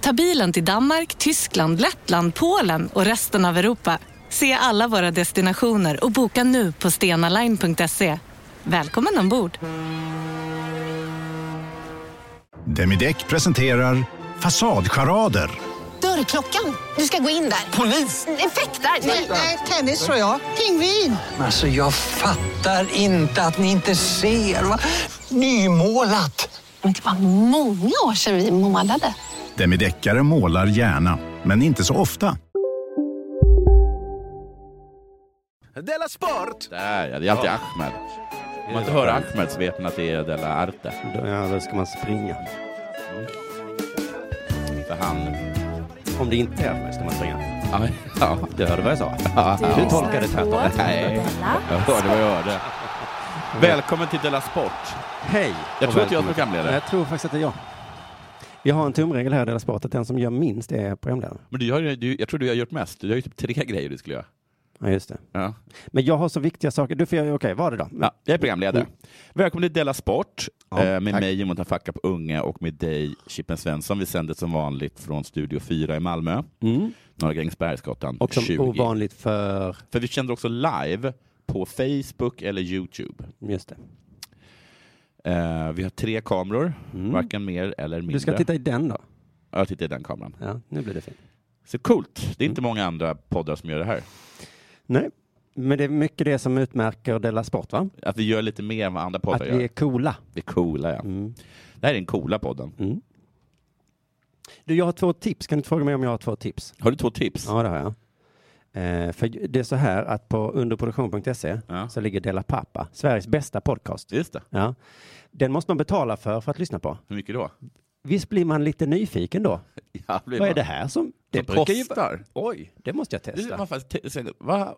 Ta bilen till Danmark, Tyskland, Lettland, Polen och resten av Europa. Se alla våra destinationer och boka nu på stenaline.se. Välkommen ombord! Demideck presenterar Fasadcharader. Dörrklockan. Du ska gå in där. Polis? Effektar? Nej, tennis tror jag. Pingvin. Alltså jag fattar inte att ni inte ser. Va? Nymålat! Men det var många år sedan vi målade. Demideckare målar gärna, men inte så ofta. Della Sport! Där ja, det är alltid Ahmed. Om man inte hör Ahmed så vet man att det är Della Arte. Ja, då ska man springa. För han... Om det inte är ska man springa. Ja, ja. Du hörde vad jag sa. Ja, ja. Du tolkade tvärtom. Nej, jag hörde vad jag hörde. Välkommen till Della Sport. Hej! Jag och tror inte jag är välkommen. programledare. Jag tror faktiskt att det är jag. Vi har en tumregel här i Della Sport att den som gör minst är programledaren. Men du har, ju- du, jag tror du har gjort mest. Du har ju typ tre grejer du skulle göra. Ja, just det. Ja. Men jag har så viktiga saker. Du får göra, okej, vad är det då? Ja, jag är programledare. Oh. Välkommen till Della Sport Ja, eh, med tack. mig Jonathan Facka på Unge och med dig Chippen Svensson. Vi sänder som vanligt från Studio 4 i Malmö, Mm. Norra Grängesbergsgatan Och som 20. ovanligt för... För vi sänder också live på Facebook eller Youtube. Just det. Eh, vi har tre kameror, varken mer eller mindre. Mm. Du ska titta i den då. Ja, jag tittar i den kameran. Ja, nu blir det fint. Så coolt. Det är inte Mm. många andra poddar som gör det här. Nej, men det är mycket det som utmärker Della Sport, va? Att vi gör lite mer än vad andra Att poddar gör. vi Mm. är coola. Mm. Vi är coola, ja. Det här är den coola podden. Du, jag har två tips. Kan du inte fråga mig om jag har två tips? Har du två tips? Ja, det har jag. Eh, för det är så här att på underproduktion.se Ja. så ligger Della Pappa, Sveriges bästa podcast. Just det. Ja. Den måste man betala för, för att lyssna på. Hur mycket då? Visst blir man lite nyfiken då? Ja, blir Vad man- är det här som... Det Som brukar ju- vara- Oj, det måste jag Det är- testa. man faktiskt te- säger, va?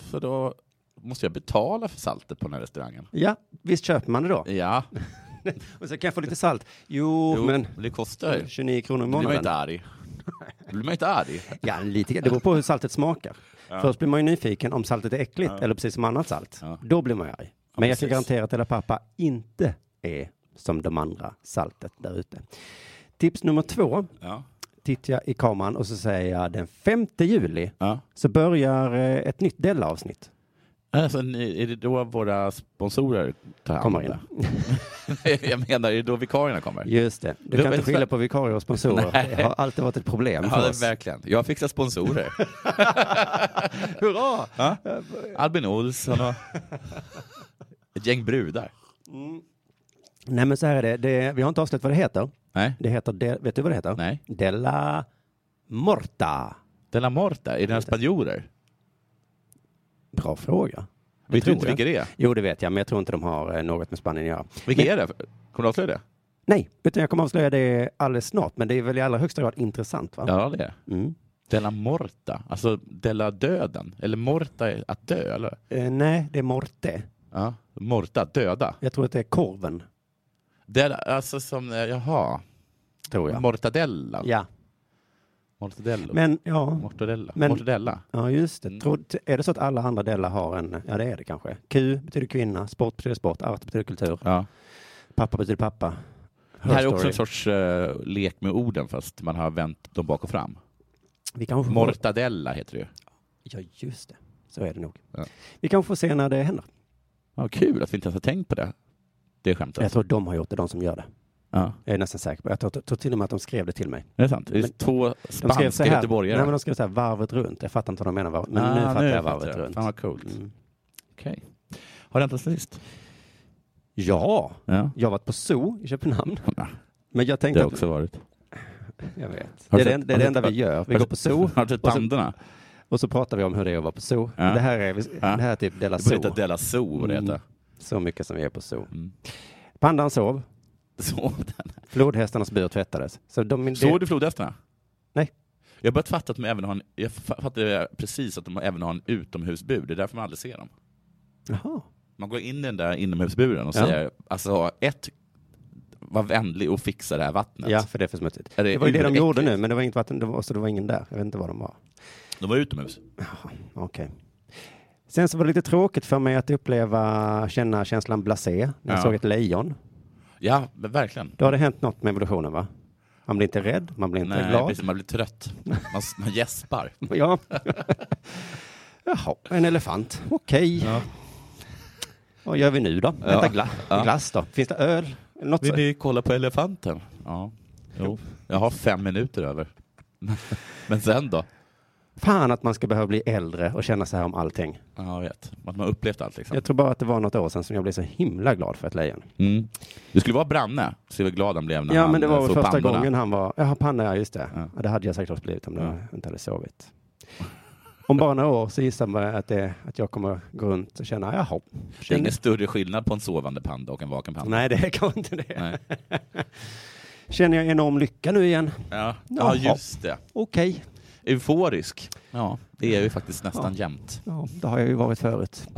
Så då måste jag betala för saltet på den här restaurangen? Ja, visst köper man det då? Ja, Och så kan jag få lite salt. Jo, jo, men det kostar ju. Då 29 kronor i blir man ju inte månaden. arg. Då blir man ju inte arg. Ja, lite grann. Det beror på hur saltet smakar. Först blir man ju nyfiken om saltet är äckligt eller precis som annat salt. Ja. Då blir man ju arg. Men jag kan precis. garantera att Della Pappa inte är som de andra saltet där ute. Tips nummer två. Ja. Tittar jag i kameran och så säger jag den 5 juli Ja. så börjar eh, ett nytt Della-avsnitt. Alltså, ni- är det då våra sponsorer tar hand om Kommer in. det? Jag menar, är det då vikarierna kommer? Just det. Du Det kan var inte så- skilja på vikarier och sponsorer. Det har alltid varit ett problem Ja, för det, oss. verkligen. Jag fixar sponsorer. Hurra! Ja. Albin Olsson och ett gäng brudar. Nej, men så här är det. det vi har inte avslöjat vad det heter. Nej, Det heter, de, vet du vad det heter? Nej. Della Morta. De la Morta, är det spanjorer? Bra fråga. Vet du tror inte jag. vilka det är? Jo, det vet jag, men jag tror inte de har eh, något med Spanien att göra. Vilka är det? Kommer du avslöja det? Nej, utan jag kommer avslöja det alldeles snart, men det är väl i allra högsta grad intressant, va? Ja, det är det. Mm. De la Morta, alltså de la döden. Eller Morta är att dö, eller? Eh, nej, det är Morte. Ja. Morta, döda. Jag tror att det är korven, De la, alltså som, eh, jaha, tror jag. mortadella. ja, Mortadello. men ja. Mortadella. Men- Mortadella. Ja, just Mm. det. Tror, t- är det så att alla andra delar har en, ja det är det kanske. Q betyder kvinna, sport betyder sport, art betyder kultur, Ja. pappa betyder pappa. Det här är Her också story. en sorts eh, lek med orden fast man har vänt dem bak och fram. Vi kanske får- Mortadella heter det ju. Ja, just det. Så är det nog. Ja. Vi kanske får se när det händer. Ja, kul att vi inte ens har tänkt på det. Det är Jag skämtet. tror de har gjort det, de som gör det. Ja, Jag är nästan säker på. Jag tror, tror till och med att de skrev det till mig. det är sant. Det är Men- två De skrev spanska göteborgare. Nej, men de skrev så här, varvet runt. Jag fattar inte vad de menar, var- men Ah, nu fattar jag varvet jag. runt. Fan vad coolt. Mm. Okej. Har det hänt något sen sist? Ja, Ja. jag har varit på zoo i Köpenhamn. Men jag tänkte Det har att... också varit. Jag vet. Har du Det är det, sett- en- det, har du är det enda vi sett- gör. Vi Har går du- på zoo Har du sett och så- pandorna? och så pratar vi om hur det är att vara på zoo. Ja. Det här är, det här är typ Della Det borde heta Zoo. Della Zoo, vad det heter. Mm. Så mycket som vi är på zoo. Mm. Pandan sov, Såg den? flodhästarnas bur tvättades. Så de, det, Såg du flodhästarna? Nej. Jag Jag har börjat fatta att de även har en, jag fa- fattade precis att de även har en utomhusbur, det är därför man aldrig ser dem. Jaha. Man går in i den där inomhusburen och Ja. säger, alltså ett, var vänlig och fixa det här vattnet. Ja, för det är för smutsigt. Är det det, var ju det de uräckligt? gjorde nu, men det var inget vatten, det var, så det var ingen där. Jag vet inte vad de var. De var utomhus. Okej. Sen så var det lite tråkigt för mig att uppleva, känna känslan blasé när jag Ja. såg ett lejon. Ja, men verkligen. Då har det hänt något med evolutionen va? Man blir inte rädd, man blir inte Nej, glad. precis, man blir trött. Man, man gäspar. Ja. Jaha, en elefant. Okej. Vad gör vi nu då? Vänta gla- Ja. glass då? Finns det öl? Eller Något Vill så- ni kolla på elefanten? Ja. Jo. Jag har fem minuter över. Men sen då? Fan att man ska behöva bli äldre och känna så här om allting. Ja, jag vet. Att man har upplevt allt liksom. Jag tror bara att det var något år sedan som jag blev så himla glad för ett lejon. Mm. Du skulle vara Branne, se vad glad han blev när Ja, han men det var eh, väl får första pandorna. gången han var... Jaha, panna, ja just det. Ja. Ja. Det hade jag säkert också blivit om jag Ja. inte hade sovit. Om bara några år så gissar man att, det, att jag kommer gå runt och känna, jaha. Det är ingen större skillnad på en sovande panda och en vaken panda. Nej, det kan inte det. Nej. Känner jag enorm lycka nu igen? Ja. ja, Jaha. just det. Okej. Euforisk. Ja, det är ju faktiskt nästan jämt. Ja, det har jag ju varit förut.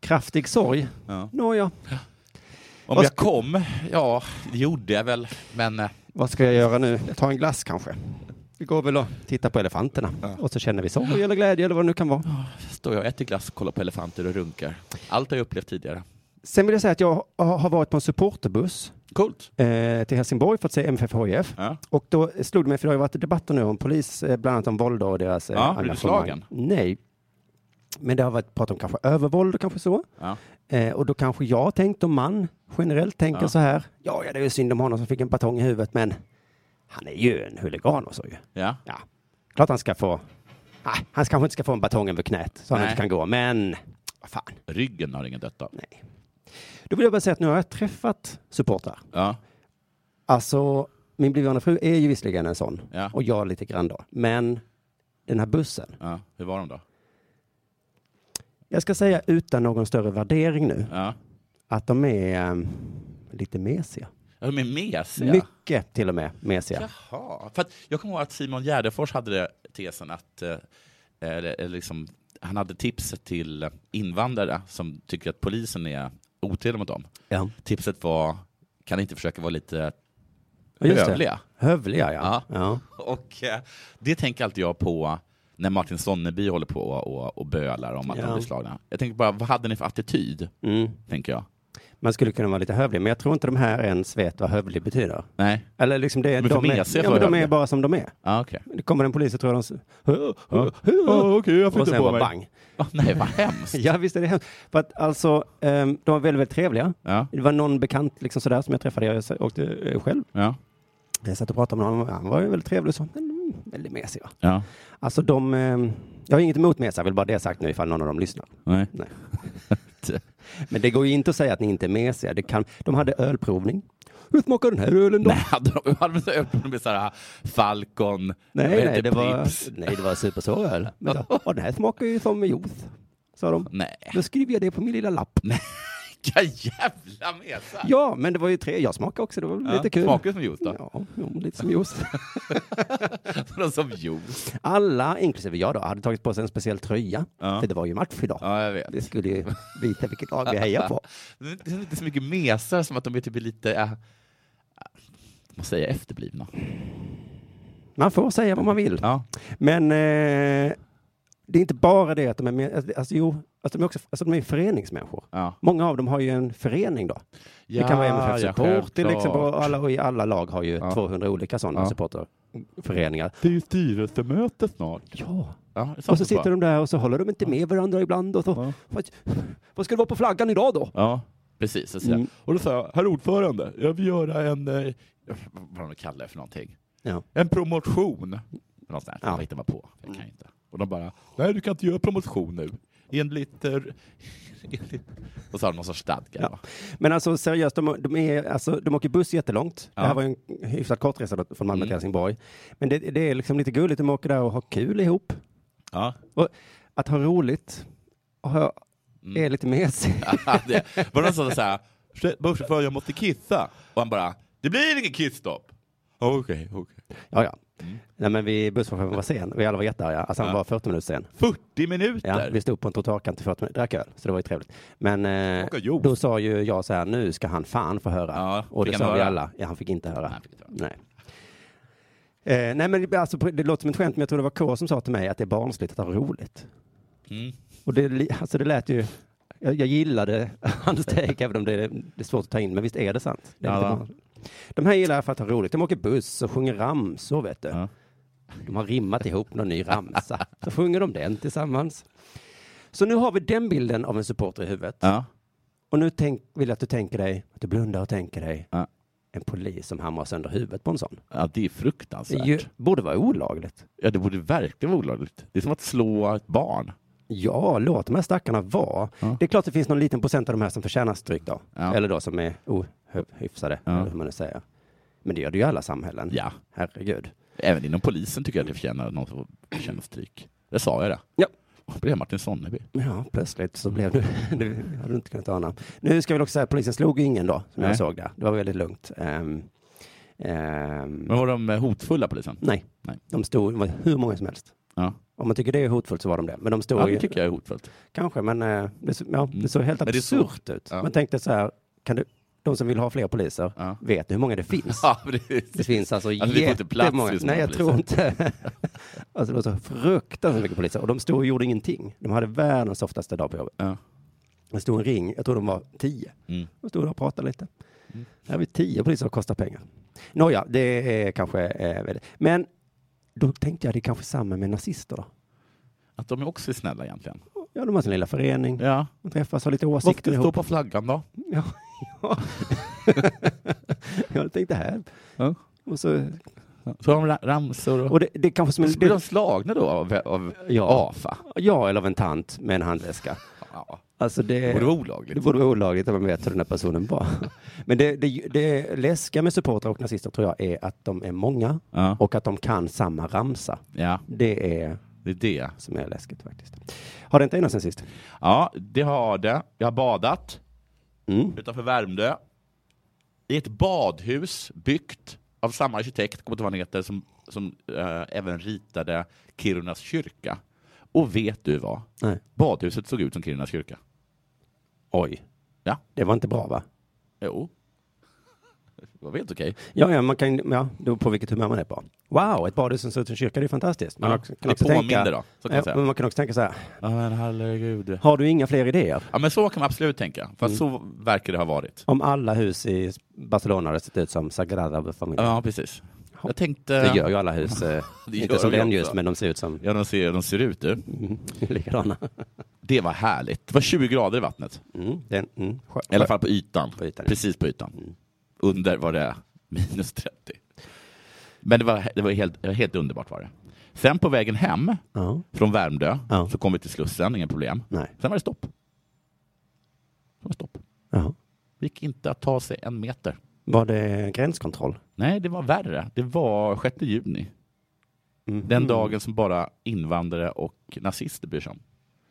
Kraftig sorg? Ja. Nåja. Om Vad jag ska- kom? Ja, det gjorde jag väl. Men eh, Vad ska jag göra nu? Jag tar en glass kanske. Vi går väl och tittar på elefanterna. Och så känner vi sorg eller glädje eller vad det nu kan vara. står jag och äter glass, kollar på elefanter och runkar. Allt har jag upplevt tidigare. Sen vill jag säga att jag har har varit på en supporterbuss Coolt. eh, till Helsingborg för att se MFFHIF. Ja. Och då slog det mig, för det har ju varit debatter nu om polis, eh, bland annat om våld och deras eh, Ja, blir du slagen? Nej. Men det har varit prat om kanske övervåld och kanske så. Ja. Eh, och då kanske jag tänkt om man generellt tänker Ja. så här. Ja, ja, det är ju synd om honom som fick en batong i huvudet, men han är ju en huligan och så ju. Ja. Ja, klart han ska få. Nej, han kanske inte ska få en batong över knät så han Nej. inte kan gå, men vad fan. Ryggen har ingen dött av. Nej. Då vill jag bara säga att nu har jag träffat supportrar. Ja. Alltså, min blivande fru är ju visserligen en sån Ja. och jag lite grann då, men den här bussen. ja. Hur var de då? Jag ska säga utan någon större värdering nu Ja. att de är ehm, lite mesiga. Ja, De är mesiga. Mycket till och med mesiga. Jaha. För att jag kommer ihåg att Simon Gärdenfors hade det- tesen att eh, eller, eller liksom, han hade tipset till invandrare som tycker att polisen är otrevlig mot dem. Ja. Tipset var, kan ni inte försöka vara lite Ja, just det. hövliga? Hövliga, ja. Ja. ja. Och eh, det tänker alltid jag på när Martin Sonneby håller på och, och bölar om att de Ja. blir slagna. Jag tänker bara, vad hade ni för attityd? Mm. Tänker jag. Man skulle kunna vara lite hövlig, men jag tror inte de här ens vet vad hövlig betyder. Nej? Eller liksom det, Men för de, mesiga är, för ja, men de hövliga. är bara som de är. Ja, okej. Det kommer en polis och tror de... s- okej, jag Och sen bara bang. Ah, nej, vad hemskt. Ja, visst är det hemskt. För att alltså, ehm, de var väldigt, väldigt trevliga. Ja, Det var någon bekant liksom sådär som jag träffade, jag s- åkte eh, själv. ja, Jag satt och pratade med honom, han var ju väldigt trevlig och så, men mm, väldigt mesig va. ja. Alltså de, ehm, jag har inget emot mesiga, jag vill bara det sagt nu ifall någon av dem lyssnar. Nej. Nej. Men det går ju inte att säga att ni inte är mesiga. Det kan, de hade ölprovning. Hur smakar den här ölen då? Nej, hade de, hade de öppnat med såhär Falcon, Nej, vad heter nej, det var, Pripps? nej, det var supersåröl. Men då, "Åh, den här smakar ju som juice, sa de. Nej, Då skriver jag det på min lilla lapp. vilka jävla mesar! Ja, men det var ju tre. Jag smakade också. Det var väl Ja, lite kul. Smakar det som juice då? Ja, jo, lite som juice. Ja. som juice. Alla, inklusive jag då, hade tagit på sig en speciell tröja. För det var ju match idag. Ja, jag vet. Det skulle ju visa vilket lag vi hejar på. Det är inte så mycket mesar som att de är typ lite, äh, man säger efterblivna. Man får säga vad man vill. Ja. Men eh, det är inte bara det att de är med, alltså, jo, alltså, de är också alltså, de är föreningsmänniskor. Ja. Många av dem har ju en förening då. det kan vara MFF ja, Support till självklart. exempel. Och alla, och i alla lag har ju Ja. 200 olika sådana Ja. supporterföreningar. Det är ju styrelsemöte snart. Ja. Ja, det är sant Och så det bara. sitter de där och så håller de inte med varandra ibland. Och så, Ja. vad, vad ska det vara på flaggan idag då? Ja, precis. Så säger jag. Mm. Och då sa jag, herr ordförande, jag vill göra en, eh, vad de kallar det för någonting, Ja. en promotion. Något sånt där. Ja. Jag hittar bara på, jag kan inte. Och de bara, nej du kan inte göra promotion nu. Enligt... eh, enligt- Och så har de någon sorts stadga. Ja. va? Men alltså seriöst, de, de, är, alltså, de åker buss jättelångt. Ja. Det här var ju en hyfsat kort resa då, från Malmö till Helsingborg. Men det, det är liksom lite gulligt, de åker där och har kul ihop. Ja. Och att ha roligt och ha, är lite mesigt. det var någon som sa såhär, busschaufför jag måste kissa. Och han bara, det blir ingen kissstopp. Okej, okej. Ja, ja. Nej, men vi, busschauffören var sen. Vi alla var jättearga. Alltså, han var 40 minuter sen. 40 Ja, minuter! vi stod på en trottoarkant i 40 minuter, drack öl, så det var ju trevligt. Men eh, Åka juice. då sa ju jag så här, nu ska han fan få höra. Ja, och det fick sa han vi höra? alla. Ja, han fick inte höra. Nej, fick inte höra. Nej. Eh, nej, men det- alltså, det låter som ett skämt, men jag tror det var K som sa till mig att det är barnsligt att ha roligt. Mm. Och det, li- alltså, det lät ju... Jag, jag gillade hans take, även om det, det är svårt att ta in, men visst är det sant? Det är Ja, lite va. barnsligt. De här gillar jag för att ha roligt. De åker buss och sjunger ramsor, vet du. Ja. De har rimmat ihop någon ny ramsa. Så sjunger de den tillsammans. Så nu har vi den bilden av en supporter i huvudet. Ja. Och nu tänk, vill jag att du tänker dig, att du blundar och tänker dig Ja. en polis som hamrar sönder huvudet på en sån. ja, det är Det fruktansvärt. ju, borde vara olagligt. Ja, det borde verkligen vara olagligt. Det är som att slå ett barn. Ja, låt de här stackarna vara. Ja. Det är klart det finns någon liten procent av de här som förtjänar stryk då. Ja. Eller då som är ohyfsade, Ja. eller hur man nu säger. Men det gör det ju i alla samhällen. Ja. Herregud. Även inom polisen tycker jag att det förtjänar någon som känner stryk. Det sa jag det. Ja. Och blev Martin Sonneby. Ja, plötsligt så blev du... Det hade du inte kunnat ana. Nu ska vi också säga att polisen slog ju ingen då, som jag Nej. såg där. Det var väldigt lugnt. Ehm, ehm, Men var de eh, hotfulla polisen? nej, Nej. de stod det var hur många som helst. Ja, Om man tycker det är hotfullt så var de det. Men de stod ja ju, det tycker jag är hotfullt. kanske, men eh, det, så- ja, det såg helt Men det är så- absurt ut. Ja. Man tänkte så här, kan du, de som vill ha fler poliser, Ja. vet du hur många det finns? Ja, precis. Det finns alltså, Alltså, vi får inte plats jättemånga. för så många Nej, jag tror inte. alltså, det var så fruktansvärt mycket poliser. Och de stod och gjorde ingenting. De hade världens softaste dag på jobbet. Ja. Det stod en ring, jag tror de var tio. Mm. De stod där och pratade lite. Här har vi tio poliser och kostar pengar. Nåja, det är kanske eh, väldigt... Men då tänkte jag det är kanske samma med nazister då. Att de är också snälla egentligen. Ja, de har sin lilla förening. Ja. De träffas, har lite Vad ska åsikter det stå ihop. på flaggan då? Ja, ja. jag tänkte här. Ja. Och, så, Så har de ra- ramsor och... och det, det är kanske som en... Så blir de slagna då av, av Ja. AFA? Ja, eller av en tant med en handväska. Ja. Alltså det, Det borde vara det olagligt. borde vara olagligt om man vet hur den här personen var. Men det, det, det läskiga med supportrar och nazister tror jag är att de är många Ja. och att de kan samma ramsa. ja, Det är det är det. som är läskigt faktiskt. Har det inte hänt något sen sist? Ja, det har det. Jag har badat Mm. utanför Värmdö. I ett badhus byggt av samma arkitekt, kommer inte ihåg vad han heter, som, som eh, även ritade Kirunas kyrka. Och vet du vad? Nej. Badhuset såg ut som Kirunas kyrka. Oj. Ja. Det var inte bra va? Jo. Det var helt okej. Ja, ja, man kan, ja det beror på vilket humör man är på. Wow, ett badhus som ser ut som en kyrka, det är fantastiskt. Man Ja, också- det påminner då, så kan ja, jag säga. men man kan också tänka så här, Ja, men herregud. Mm. har du inga fler idéer? Ja, men så kan man absolut tänka. Fast så verkar det ha varit. Om alla hus i Barcelona hade sett ut som Sagrada Familia. Ja, precis. Jag tänkte... Det gör ju alla hus. eh, Det inte gör som vi den också. just, men de ser ut som Ja, de ser, de ser ut du. likadana. Det var härligt. Det var 20 grader i vattnet. Mm, den, mm, skö- I alla fall på ytan. På ytan, ja. Mm. Precis på ytan. Under var det minus 30. Men det var, det var helt, det var helt underbart var det. Sen på vägen hem Ja, från Värmdö Ja. så kom vi till Slussen, inga problem. nej. Sen var det stopp. Sen var det stopp. Ja. Det gick inte att ta sig en meter. Var det gränskontroll? Nej, det var värre. Det var 6 juni. Mhm. Den dagen som bara invandrare och nazister bryr sig om.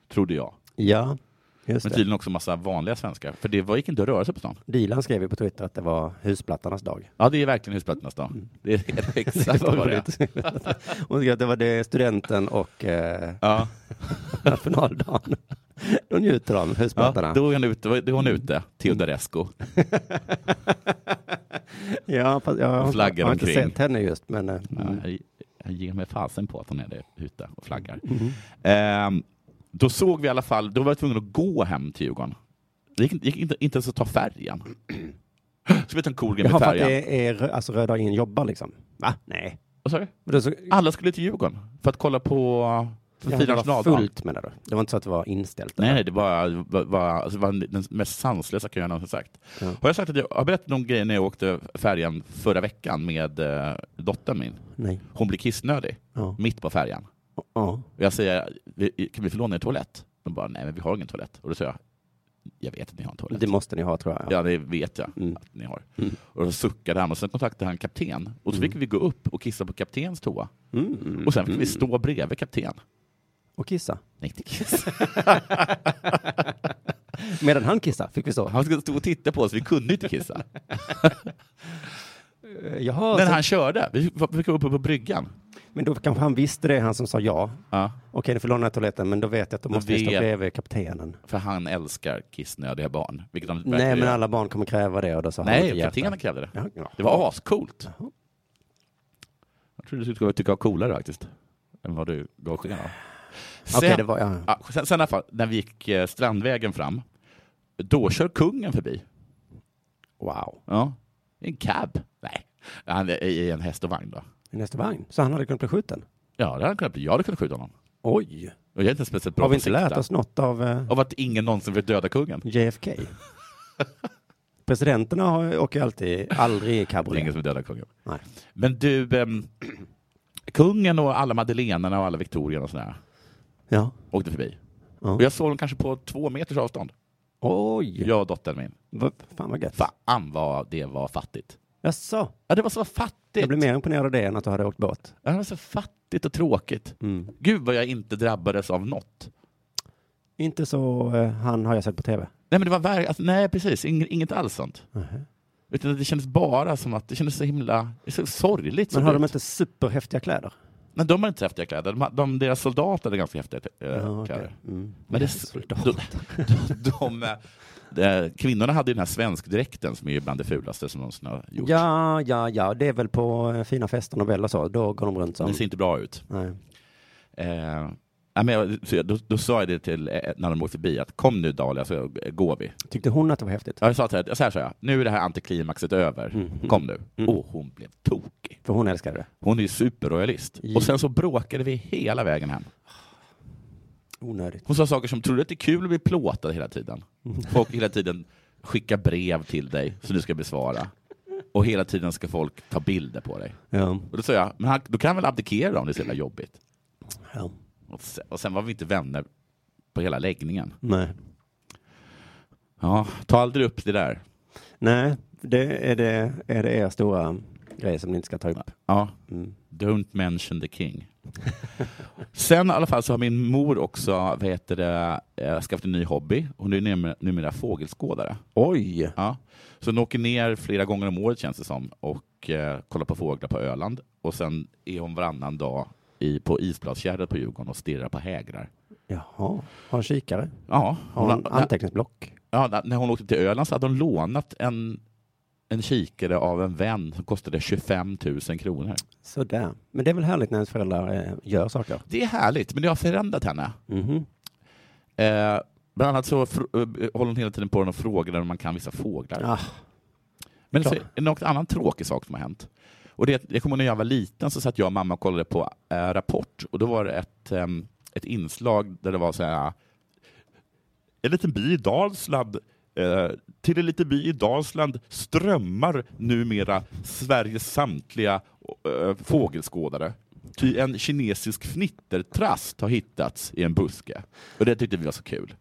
Trodde jag. Ja, just Men det. tydligen också massa vanliga svenskar. För det var, gick inte att röra sig på stan. Dilan skrev ju på Twitter att det var husplattarnas dag. Ja, det är verkligen husplattornas dag. Mm. Det är exakt vad det är. Hon skrev att det var det studenten och eh, Ja, nationaldagen. Då njuter de, husplattarna. ja, då är hon ute, då är hon Mm. ute Teodorescu. Ja, fast jag har- flaggar har inte omkring. sett henne just, men eh, Ja, jag, jag ger mig fasen på att hon är där ute och flaggar. Mm. Ehm, då såg vi i alla fall, då var jag tvungen att gå hem till Djurgården. Det gick, inte- gick inte, inte ens att ta färjan. Så vi tar en Kolgren jag har med för att färjan. det är, alltså Röda in jobbar liksom. Va? Nej. Vad sa du? Men det så, Alla skulle till Djurgården för att kolla på för att ja, fira det var nationaldagen. fullt menar du? Det var inte så att det var inställt? Nej, nej, det var, var, var, alltså, det var den mest sanslösa kön jag någonsin sagt. Ja. Har jag sagt att jag har berättat någon grej när jag åkte färjan förra veckan med eh, dottern min? Nej. Hon blir kissnödig Ja. mitt på färjan. Ja. Och jag säger, "Vi- kan vi få låna en toalett? De bara, nej men vi har ingen toalett. Och då säger jag, jag vet att ni har en toalett. Det måste ni ha tror jag. Ja, det vet jag Mm. att ni har. Mm. Och då suckade han och sen kontaktade han kapten. Och så fick vi gå upp och kissa på kaptens toa. Mm. Och sen fick vi stå bredvid kapten. Och kissa. Nej, inte kissa. Medan han kissade fick vi stå. Han skulle stå och titta på oss, vi kunde inte kissa. eh, jaha, När så, han körde. Vi var- vi var uppe på bryggan. men då kanske han visste det, han som sa ja. Ja. Okej, nu får låna toaletten, men då vet jag att då Då måste vi stå vet- bredvid kaptenen. För han älskar kissnödiga barn. Vilket han Nej, verkligen men gör. alla barn kommer kräva det och då sa han Nej, inte hjärta. kaptenen krävde det. Ja, ja. Det var ascoolt. Jaha. Jag trodde du skulle tycka var coolare faktiskt. Än vad du gav sken av. Sen, Okej, det var... Ja. ja, sen, sen i alla fall, när vi gick eh, Strandvägen fram, då kör kungen förbi. Wow. Ja. I en cab. Nej, han är i en häst och vagn då. I nästa vagn. Så han hade kunnat bli skjuten? Ja, det hade han kunnat bli. Jag hade kunnat skjuta honom. Oj. Och jag är inte speciellt bra Har vi på inte att sikta. lärt oss något av eh, Av att ingen någonsin vill döda kungen. JFK? Presidenterna har, åker ju alltid, aldrig Det är i ingen cabriolet. som dödar kungen. Nej. Men du, ehm, kungen och alla Madelenerna och alla Victorierna och sådär Ja. åkte förbi. Ja. Och jag såg dem kanske på två meters avstånd. Oj. Jag och dottern min. Vad- Fan vad gött. Fan vad det var fattigt. Jaså? Ja, det var så fattigt. Jag blev mer imponerad av det än att du hade åkt båt. Ja, Det var så fattigt och tråkigt. Mm. Gud vad jag inte drabbades av något. Inte så eh, han har jag sett på tv. Nej, men det var verkligen, alltså, nej precis, Ing- inget alls sånt. Mhm. Utan det kändes bara som att det kändes så himla det är så sorgligt. Men har de inte... inte superhäftiga kläder? Nej, de har inte så häftiga kläder. De, har- de, deras soldater hade ganska häftiga eh, Ja, okej. kläder. Mm. Men det, de, de, de, eh, kvinnorna hade ju den här svenskdräkten som är ju bland det fulaste som någonsin har gjorts. Ja, ja, ja. Det är väl på eh, fina fester, Nobel och så. Då går de runt som... Det ser inte bra ut. Nej. Eh, ja, men jag, så jag- då, då sa jag det till, eh, när de åkte förbi, att kom nu Dahlia så går vi. Tyckte hon att det var häftigt? Ja, Jag sa så här, så här sa jag, nu är det här antiklimaxet över, Mhm. kom nu. Och hon blev tokig. För hon älskade det. Hon är ju superroyalist. Ja. Och sen så bråkade vi hela vägen hem. Onödigt. Hon sa saker som, tror du att det är kul att bli plåtad hela tiden? Folk hela tiden skickar brev till dig som du ska besvara. Och hela tiden ska folk ta bilder på dig. Ja. Och då sa jag, men han, då kan han väl abdikera om det är så jävla jobbigt? ja. Och sen, och sen var vi inte vänner på hela läggningen. Nej. Ja, ta aldrig upp det där. Nej, det är, det är det er stora grej som ni inte ska ta upp. Ja, Mm. don't mention the king. Sen i alla fall så har min mor också vad heter det, eh, skaffat en ny hobby. Hon är numera, numera fågelskådare. Oj! Ja. Så hon åker ner flera gånger om året känns det som och eh, kollar på fåglar på Öland. Och sen är hon varannan dag i, på Isbladsgärdet på Djurgården och stirrar på hägrar. Jaha. Har en kikare? Ja, Har hon, en anteckningsblock? ja, när- när hon åkte till Öland så hade hon lånat en, en kikare av en vän som kostade 25 000 kronor. Sådär. Men det är väl härligt när ens föräldrar eh, gör saker? Det är härligt, men det har förändrat henne. Mhm. Eh, bland annat så fr- eh, håller hon hela tiden på och frågar om man kan vissa fåglar. Ah, Men så klart. är det något annan tråkig sak som har hänt. Och det, jag kommer ihåg när jag var liten så satt jag och mamma och kollade på eh, Rapport och då var det ett, ehm, ett inslag där det var så här En liten by i Dalsland eh, till en liten by i Dalsland strömmar numera Sveriges samtliga eh, fågelskådare. Ty en kinesisk fnittertrast har hittats i en buske. Och det tyckte vi var så kul.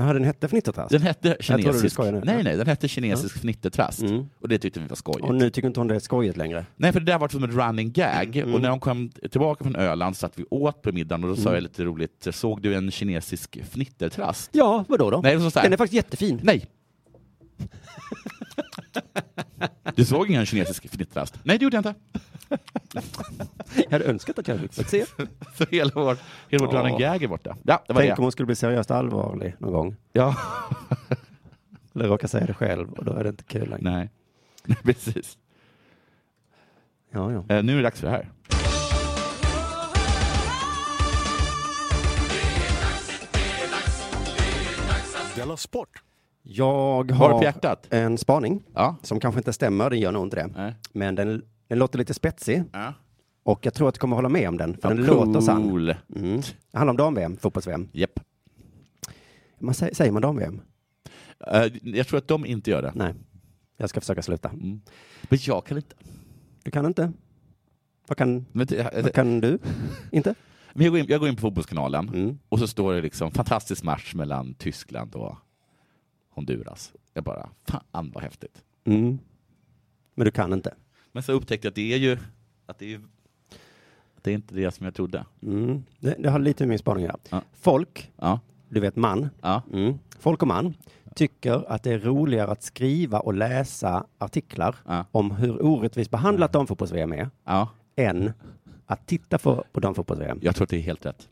Jaha, den hette Fnittertass? Den hette trodde du kinesisk, skojade nu. nej, nej, den hette kinesisk fnittertrast. Mm. Och det tyckte vi var skojigt. Och nu tycker inte hon det är skojigt längre? Nej, för det där var som en running gag. Och när hon kom tillbaka från Öland satt vi åt på middagen och då sa jag lite roligt, såg du en kinesisk fnittertrast? Ja, vadå då? Nej, det var så här. den är faktiskt jättefin. Nej. du såg ingen kinesisk fnittertrast? Nej, det gjorde jag inte. Jag hade önskat att jag hade fått se. Så hela vårt, hela vårt Ja. running gag är borta. Ja, det var Tänk det. om hon skulle bli seriöst allvarlig någon gång. Ja. Eller råka säga det själv och då är det inte kul längre. Nej. Nej, precis. Ja, ja. Eh, nu är det dags för det här. Della Sport! Jag Har du på har hjärtat? en spaning Ja. som kanske inte stämmer, den gör nog inte det. Nej. Men den, den låter lite spetsig Ja. och jag tror att du kommer hålla med om den, för Ja, den låter sann. cool. Mm. Det handlar om dam-VM, fotbolls-VM. Japp. Man, sä- säger man dam-VM? Eh, jag tror att de inte gör det. Nej, jag ska försöka sluta. Men jag kan inte. Du kan inte? Vad kan, Men det- jag- vad kan du? Inte? Men jag, går in, jag går in på Fotbollskanalen Mm. och så står det liksom fantastisk match mellan Tyskland och Honduras. Jag bara, fan vad häftigt. Mm. Men du kan inte? Men så upptäckte jag att det är ju, att det är, ju- att det är inte det som jag trodde. Mm. Det, det har lite med min spaning att göra. Ja. Folk, Ja, du vet man, ja. mm. folk och man, tycker att det är roligare att skriva och läsa artiklar Ja. om hur orättvist behandlat damfotbolls-VM är Ja, än att titta på, på damfotbolls-VM. jag tror att det är helt rätt.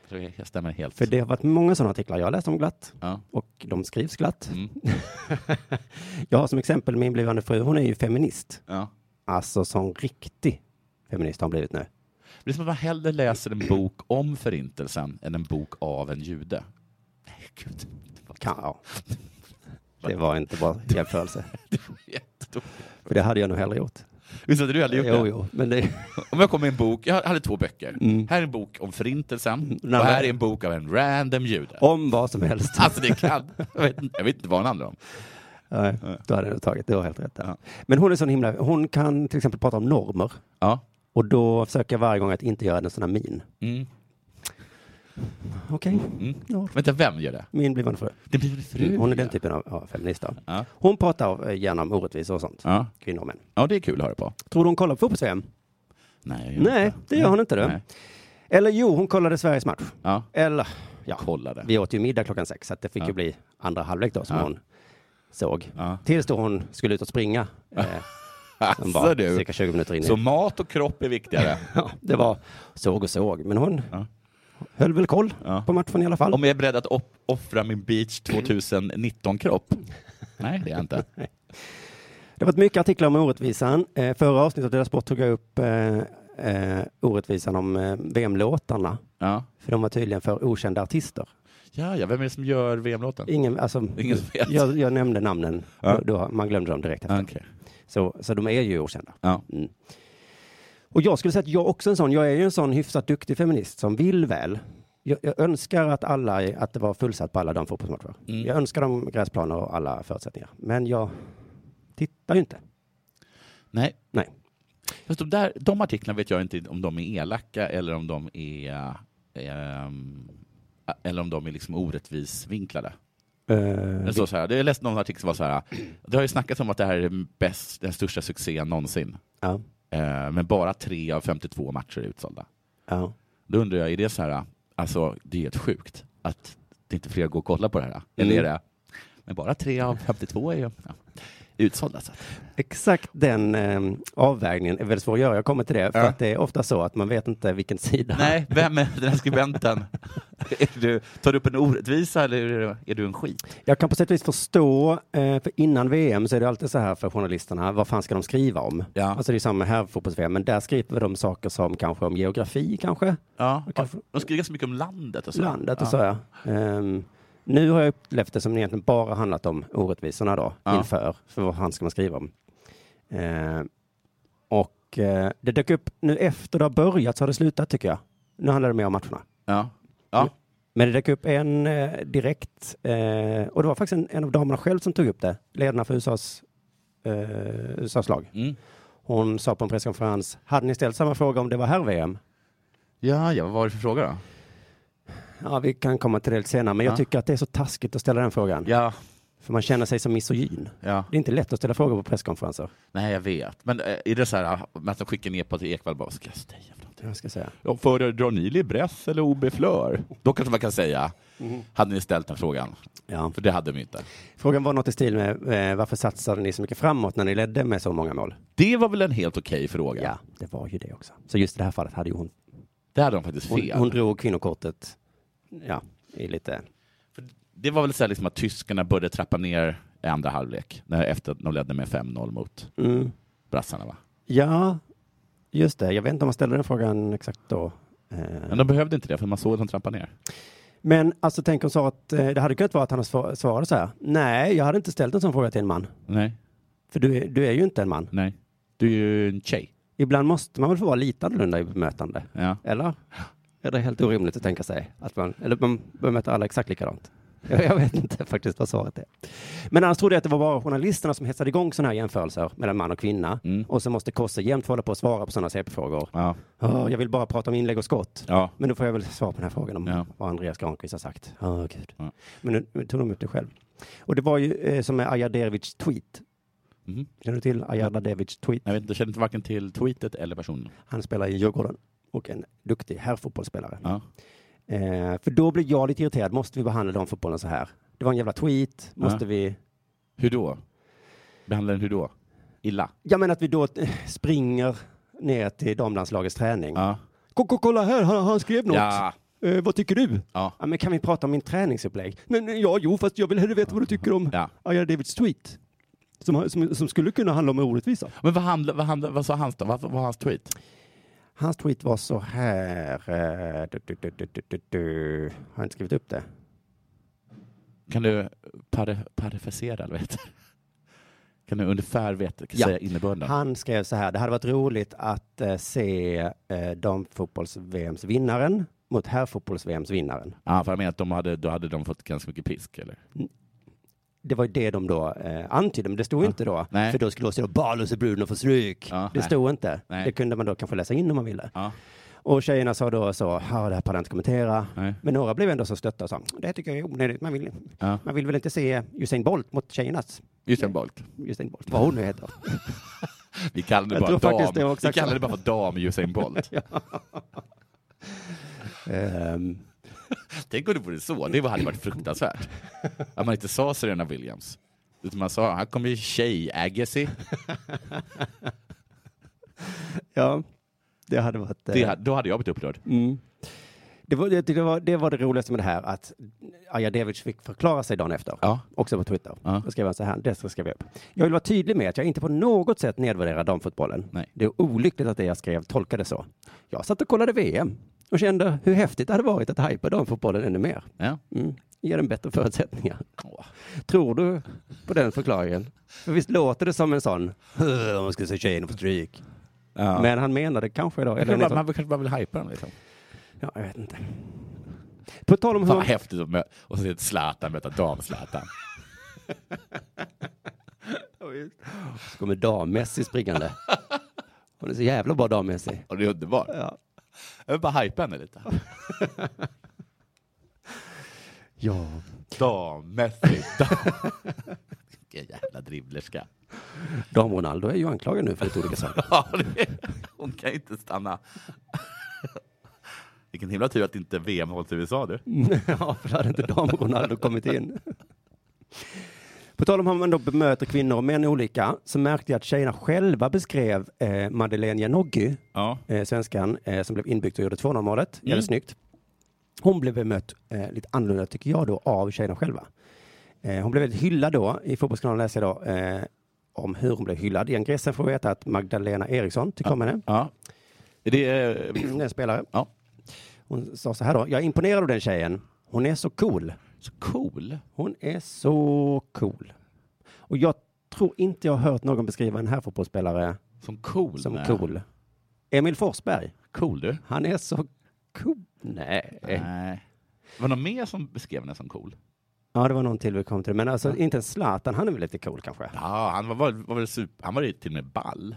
Jag tror det stämmer helt. För det har varit många sådana artiklar jag har läst om glatt Ja. och de skrivs glatt. Mm. jag har som exempel min blivande fru, hon är ju feminist. Ja. Alltså som riktig feminist har hon blivit nu. Det är som att man hellre läser en bok om Förintelsen än en bok av en jude. Nej, gud. Det var Kan, ja. Det var inte bra jämförelse. jättedåligt. För det hade jag nog hellre gjort. Visst hade du aldrig gjort Jo, det? jo, men det, Om jag kom med en bok, jag hade två böcker. Mm. Här är en bok om Förintelsen Nej, och här men- är en bok av en random jude. om vad som helst. Alltså det kan... Jag vet, inte- jag vet inte vad den handlar om. Nej, då hade jag nog tagit, du har helt rätt där. Ja. Men hon är sån himla, hon kan till exempel prata om normer. Ja. Och då försöker jag varje gång att inte göra en sån här min. Mm. Okej, ja. Vänta, vem gör det? min blivande fru. Det blir väl fru? Mm, Hon är den typen av ja, feminist. då. Ja. Hon pratar eh, gärna om orättvisor och sånt. Ja. Kvinnor och män. ja, det är kul att höra på. Tror du hon kollar på fotbolls-VM? Nej, Nej, det gör hon inte. Du. Nej. Eller jo, hon kollade Sveriges match. Ja, Eller, jag kollade. vi åt ju middag klockan sex, så att det fick ju bli andra halvlek då som Ja. hon såg. Ja. Tills då hon skulle ut och springa. Eh, som Alltså var du. cirka 20 minuter in. i- Så mat och kropp är viktigare. Ja, det var såg och såg, men hon Ja. höll väl koll Ja. på matchen i alla fall. Om jag är beredd att op- offra min beach 2019-kropp? Nej, det är jag inte. Det har varit mycket artiklar om orättvisan. Eh, förra avsnittet av Dela Sport tog jag upp eh, eh, orättvisan om eh, VM-låtarna. Ja, För de var tydligen för okända artister. ja, ja. vem är det som gör VM-låten? Ingen, alltså, Ingen som vet. jag, jag nämnde namnen, Ja. då, då, man glömde dem direkt efter. Ja, okej. Så, så de är ju okända. Ja. Mm. Och jag skulle säga att jag också är en sån, jag är ju en sån hyfsat duktig feminist som vill väl. Jag, jag önskar att alla, att det var fullsatt på alla de fotbollsmatcher. Mm. Jag önskar dem gräsplaner och alla förutsättningar. Men jag tittar ju inte. Nej. Nej. Fast de, där, de artiklarna vet jag inte om de är elaka eller om de är... ehm, eller om de är liksom orättvis vinklade. Eh, Det, står så här, jag läste någon artikel som var så här. Det har ju snackats om att det här är den bäst, den största succén någonsin. ja, Eh, men bara tre av 52 matcher är utsålda. ja. Då undrar jag, är det så här, alltså det är helt sjukt att det inte fler går och kollar på det här? Eller Mm. är det, men bara tre av 52 är ju ja, utsålda. Så att, Exakt den eh, avvägningen är väldigt svår att göra. Jag kommer till det. För Ja. att det är ofta så att man vet inte vilken sida. nej, vem är den här skribenten? är du, tar du upp en orättvisa eller är du, är du en skit? Jag kan på sätt och vis förstå, eh, för innan VM så är det alltid så här för journalisterna, vad fan ska de skriva om? Ja. Alltså det är samma här fotbolls vm men där skriver de saker som kanske om geografi kanske, Ja, Jag kan få- de skriver ganska mycket om landet och så. landet ja. och så. Ja. Ehm, nu har jag upplevt det som egentligen bara handlat om orättvisorna då, Ja. inför, för vad fan ska man skriva om? Ehm, och eh, det dök upp nu efter det har börjat så har det slutat tycker jag. Nu handlar det mer om matcherna. Ja. Ja. Men det dök upp en eh, direkt, eh, och det var faktiskt en, en av damerna själv som tog upp det, ledarna för USAs, eh, USAs lag. Mm. Hon sa på en presskonferens, hade ni ställt samma fråga om det var här VM? Ja, ja, vad var det för fråga då? Ja, vi kan komma till det lite senare, men Ja. jag tycker att det är så taskigt att ställa den frågan. Ja, För man känner sig som misogyn. ja. Det är inte lätt att ställa frågor på presskonferenser. Nej, jag vet. Men eh, är det så här ah, att de skickar ner på till Ekwall bara, vad ska jag säga för någonting? Jag ska säga. Ja, Föredrar ni Libresse eller OB Flör? Då kanske man kan säga, hade ni ställt den frågan? Ja. För det hade de ju inte. Frågan var något i stil med, eh, varför satsade ni så mycket framåt när ni ledde med så många mål? Det var väl en helt okej fråga? Ja, det var ju det också. Så just i det här fallet hade ju hon, Det hade de faktiskt hon, fel. hon drog kvinnokortet, ja, i lite Det var väl så här liksom att tyskarna började trappa ner i andra halvlek, när efter att de ledde med 5-0 mot Mm. brassarna va? Ja, just det. Jag vet inte om man ställer den frågan exakt då. Eh, Men de behövde inte det, för man såg att de trappade ner. Men alltså tänk om så att eh, det hade kunnat vara att han svar- svarade så här. Nej, jag hade inte ställt en sån fråga till en man. Nej, För du är, du är ju inte en man. nej. Du är ju en tjej. Ibland måste man väl få vara lite annorlunda i bemötande. Ja. Eller? Är det helt orimligt att tänka sig att man, eller man bemöter alla exakt likadant? Jag, jag vet inte faktiskt vad svaret är. Men annars trodde jag att det var bara journalisterna som hetsade igång sådana här jämförelser mellan man och kvinna. Mm. Och så måste Kosse jämt hålla på att svara på sådana CP-frågor. Ja. "Åh, jag vill bara prata om inlägg och skott. ja. Men då får jag väl svar på den här frågan om Ja. vad Andreas Granqvist har sagt. Ja, gud. Ja. Men nu, nu tog de upp det själv. Och det var ju eh, som med Ajadevics tweet. Mhm. Känner du till Ajadevics tweet? Jag, vet inte, jag känner inte varken till tweetet eller personen. Han spelar i Djurgården och en duktig herrfotbollsspelare. Ja. Eh, för då blev jag lite irriterad. Måste vi behandla damfotbollen så här? Det var en jävla tweet. Måste Ja. vi... Hur då? Behandlar den hur då? Illa? Jag menar att vi då eh, springer ner till damlandslagets träning. Ja. Ko- ko- Kolla här, han, han skrev något. Ja. Eh, vad tycker du? Ja. men kan vi prata om min träningsupplägg? Men, eh, ja, jo, fast jag vill hellre veta vad du tycker om Ja. Aja Davids tweet. Som, som, som skulle kunna handla om en orättvisa. Men vad, handlar, vad, handlar, vad sa hans då? Vad vad var hans tweet? Hans tweet var så här. eh, Du, du, du, du, du, du, du. Har jag inte skrivit upp det? Kan du pare- parafrasera, eller vad heter det? Kan du ungefär veta, Ja. säga innebörden? Han skrev så här. Det hade varit roligt att eh, se eh, damfotbolls-VMs vinnaren mot herrfotbolls-VMs vinnaren. Ja, för jag menar att de hade, då hade de fått ganska mycket pisk, eller? Det var ju det de då eh, antydde, men det stod inte då. Nej. För då skulle det stå Balos och Bruno får stryk. Ja, det nej. stod inte. Nej. Det kunde man då kanske läsa in om man ville. Ja. Och tjejerna sa då så, "Ja, det här pallar jag inte kommentera. Nej. Men några blev ändå så stötta och sa, det här tycker jag är onödigt. Man vill, Ja. man vill väl inte se Usain Bolt mot tjejernas Usain Bolt. Usain Bolt, vad hon nu heter. Vi kallar det Jag bara tror faktiskt det var dam. Vi exakt kallar så. det bara för dam Usain Bolt. Ehm, Tänk om det vore så. Det hade varit fruktansvärt. Att man inte sa Serena Williams. Utan man sa, här kommer ju tjej Agassi. ja, det hade varit... eh, Det, hade- då hade jag blivit upprörd. Mm. Det, var, jag tyckte det, var, det var det roligaste med det här, att Aja Devic fick förklara sig dagen efter. Ja. Också på Twitter. Ja. Då skrev han så här, det ska jag skriva upp. Jag vill vara tydlig med att jag inte på något sätt nedvärderar damfotbollen. Nej. Det är olyckligt att det jag skrev tolkades så. Jag satt och kollade VM och kände hur häftigt det hade varit att hajpa damfotbollen ännu mer. Ja. Mm. Ge den bättre förutsättningar. Åh. Tror du på den förklaringen? För visst låter det som en sån, "Huh, om man ska se tjejerna på stryk. Ja. Men han menade kanske då, Jag eller tror en bara, sån, man kanske bara vill hypa den liksom. ja, jag vet inte. På tal om Fan vad hur... häftigt att möta, och så är det Zlatan möta dam-Zlatan. Så kommer dam-Messi springande. Hon är så jävla bra dam-Messi. Och det är underbart. Ja. Jag vill bara hypa henne lite. Ja. Dam-Messi. Dam. Vilken jävla dribblerska. Dam-Ronaldo är ju anklagad nu för lite olika saker. Ja, det, hon kan ju inte stanna. Vilken himla tur att inte VM hålls i USA du. ja, för då hade inte dam-Ronaldo kommit in. På tal om hur man då bemöter kvinnor och män olika så märkte jag att tjejerna själva beskrev eh, Madeleine Janoggy, Ja. eh, svenskan eh, som blev inbyggd och gjorde 200 målet, Mm. jävligt snyggt. Hon blev bemött eh, lite annorlunda tycker jag då av tjejerna själva. Eh, hon blev väldigt hyllad då, i Fotbollskanalen läser jag då eh, om hur hon blev hyllad. I ingressen får vi veta att Magdalena Eriksson tycker om henne. ja. Det är, eh, Det är en spelare. Ja. Hon sa så här då. Jag är imponerad av den tjejen. Hon är så cool. så cool. Hon är så cool. Och jag tror inte jag har hört någon beskriva en här fotbollsspelare Som cool. som nej. cool. Emil Forsberg. Cool du. Han är så cool. Nej. Nej. Var det någon mer som beskrev henne som cool? Ja, det var någon till vi kom till. Men alltså inte ens Zlatan. Han är väl lite cool kanske. Ja, han var, var, var, väl super, han var ju till och med ball.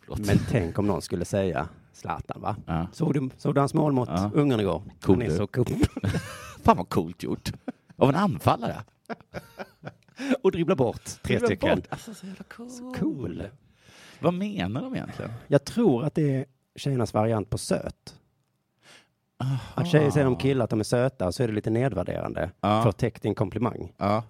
Förlåt. Men tänk om någon skulle säga Zlatan va? Ja. Såg, du, såg du hans mål mot Ja. Ungern igår? Cool, han är du. så cool. Fan vad coolt gjort. Av en anfallare. Och dribblar bort tre Dribblar stycken. bort. Alltså, så jävla cool. Cool. Vad menar de egentligen? Jag tror att det är tjejernas variant på söt. Att tjejer säger om killar att de är söta så är det lite nedvärderande. Ja. För att täcka en komplimang. Ja.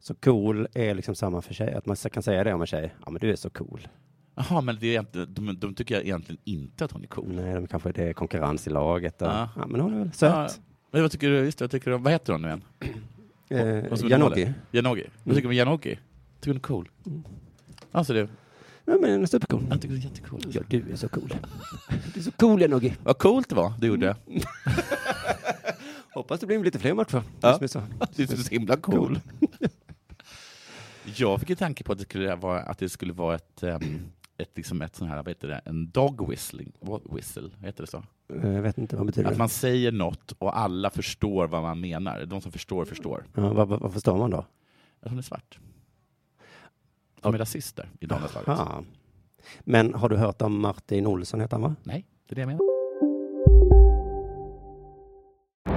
Så cool är liksom samma för tjejer. Att man kan säga det om en tjej. Ja men du är så cool. Jaha, men det är egentligen, de, de tycker egentligen inte att hon är cool. Nej, de kanske det är konkurrens i laget. Och, Ja. ja. men hon är väl söt. Men vad tycker du, just det, vad tycker du, om- vad heter hon nu igen? Vad som Eh, är Janogy. målet? Janogy. Vad tycker du om Janogy? Tycker du hon är cool? Alltså det, Ja men hon är supercool. jag tycker hon är jättecool. Ja du är så cool. Du är så cool Janogy. Vad coolt det var du gjorde. Hoppas det blir lite fler matcher. Ja. Det som är så- Du är så himla cool. Jag fick en tanke på att det skulle vara, att det skulle vara ett, ehm, ett, liksom ett sån här, vad heter det, en dog whistling, What- whistle, heter det så? Eh, Jag vet inte vad betyder Att det. man säger något och alla förstår vad man menar. De som förstår, förstår. Ja, vad, vad, vad förstår man då? Att hon är svart. De är rasister i damlandslaget. Ja. Men har du hört om Martin Olsson heter han va? Nej, det är det jag menar.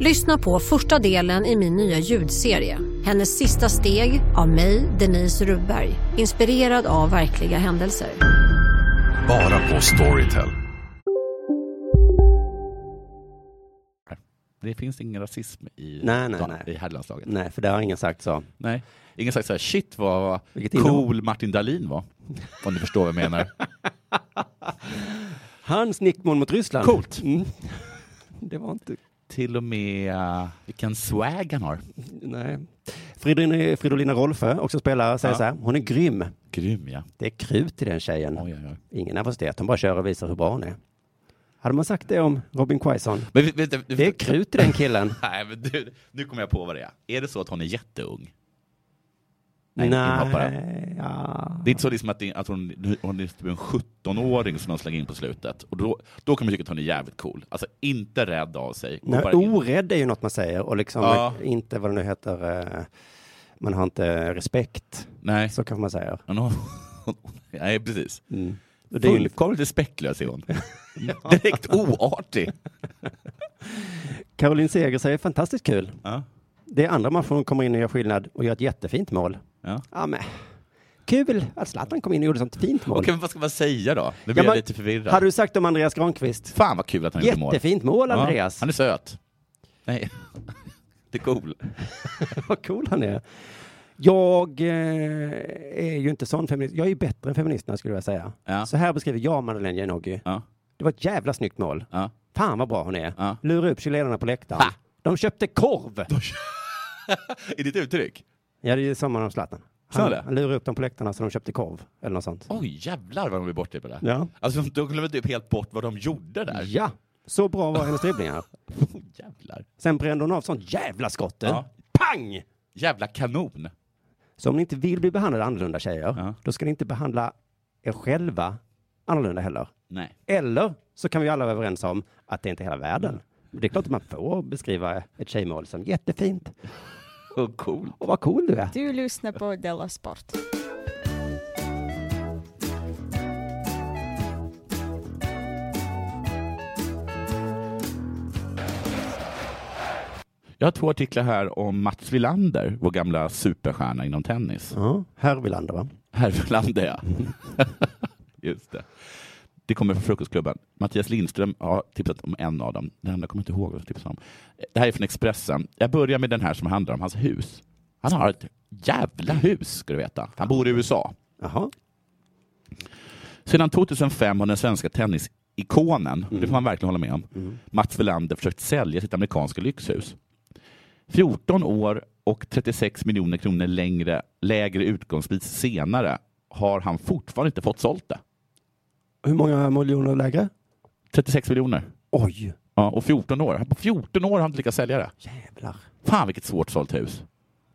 Lyssna på första delen i min nya ljudserie. Hennes sista steg av mig, Denise Rubberg. Inspirerad av verkliga händelser. Bara på Storytel. Det finns ingen rasism i, Nej, nej, Dan- nej. i herrlandslaget. Nej, för det har ingen sagt så. Nej. Ingen sagt såhär, shit vad Vilket cool Martin Dahlin var. Om ni förstår vad jag menar. Hans nickmål mot Ryssland. Coolt. Mm. Det var inte... Till och med eh, vilken swag han har. Nej. Fridolina, Fridolina Rolfö, också spelare, säger Ja. så här. Hon är grym. Grym ja. Det är krut i den tjejen. Oj, oj, oj. Ingen nervositet. Hon bara kör och visar hur bra hon är. Hade man sagt det om Robin Quaison? Men, vi- vänta, du- Det är krut i den killen. Nej, men du, nu kommer jag på vad det är. Är det så att hon är jätteung? Nej, Nej, inhoppare. ja. Det är inte så liksom att, det, att hon, hon är typ en 17-åring som de slänger in på slutet. Och då, då kan man tycka att hon är jävligt cool. Alltså inte rädd av sig. Går Nej, bara in. orädd är ju något man säger och liksom Ja. inte vad det nu heter. eh, Man har inte respekt. Nej. Så kanske man säger. Men hon, nej, precis. Och det är ju, Fullkomligt respektlös är hon. Direkt oartig. Caroline Seger säger fantastiskt kul. Ja. Det är andra matchen hon kommer in och gör skillnad och gör ett jättefint mål. Ja. Ja, men. Kul att Zlatan kom in och gjorde sånt fint mål. Okej, men vad ska man säga då? Nu blir Ja, jag men lite förvirrad. Hade du sagt om Andreas Granqvist? Fan vad kul att han gjorde mål. Jättefint mål Andreas. Ja, han är söt. Nej, det är cool. Vad cool han är. Jag eh, är ju inte sån feminist. Jag är ju bättre än feministerna skulle jag säga. Ja. Så här beskriver jag Madeleine Gianoggi. Ja, Det var ett jävla snyggt mål. ja. Fan vad bra hon är. Ja. Lura upp chilenarna på läktaren. Ha! De köpte korv! Är det ett uttryck? Ja, det är samma som Zlatan. Sa Han, det? han lurade upp dem på läktarna så de köpte korv eller något sånt. Oj, jävlar vad de blev bortdribbade. Ja. Alltså, de glömde typ helt bort vad de gjorde där. Ja, så bra var hennes dribblingar. Oh, jävlar. Sen brände hon av sånt jävla skott. du. Ja. Pang! Jävla kanon. Så om ni inte vill bli behandlade annorlunda tjejer, Ja. då ska ni inte behandla er själva annorlunda heller. Nej. Eller så kan vi alla vara överens om att det inte är hela världen. Det är klart att man får beskriva ett tjejmål som jättefint. Och cool. Och vad cool du är. Du lyssnar på Della Sport. Jag har två artiklar här om Mats Wilander, vår gamla superstjärna inom tennis. Ja, här vill andra va? Här från landet, ja. Just det. Det kommer från Frukostklubben. Mattias Lindström har tipsat om en av dem. Den andra kommer jag inte ihåg vad jag tipsade om. Det här är från Expressen. Jag börjar med den här som handlar om hans hus. Han har ett jävla hus, ska du veta. Han bor i USA. Jaha. Sedan 2005 har den svenska tennisikonen, Mm. det får man verkligen hålla med om, Mats Wilander försökt sälja sitt amerikanska lyxhus. 14 år och 36 miljoner kronor längre, lägre utgångspris senare har han fortfarande inte fått sålt det. Hur många miljoner lägre? 36 miljoner. Oj, Ja, och 14 år. På 14 år har han inte lyckats sälja det. jävlar. Fan vilket svårt sålt hus.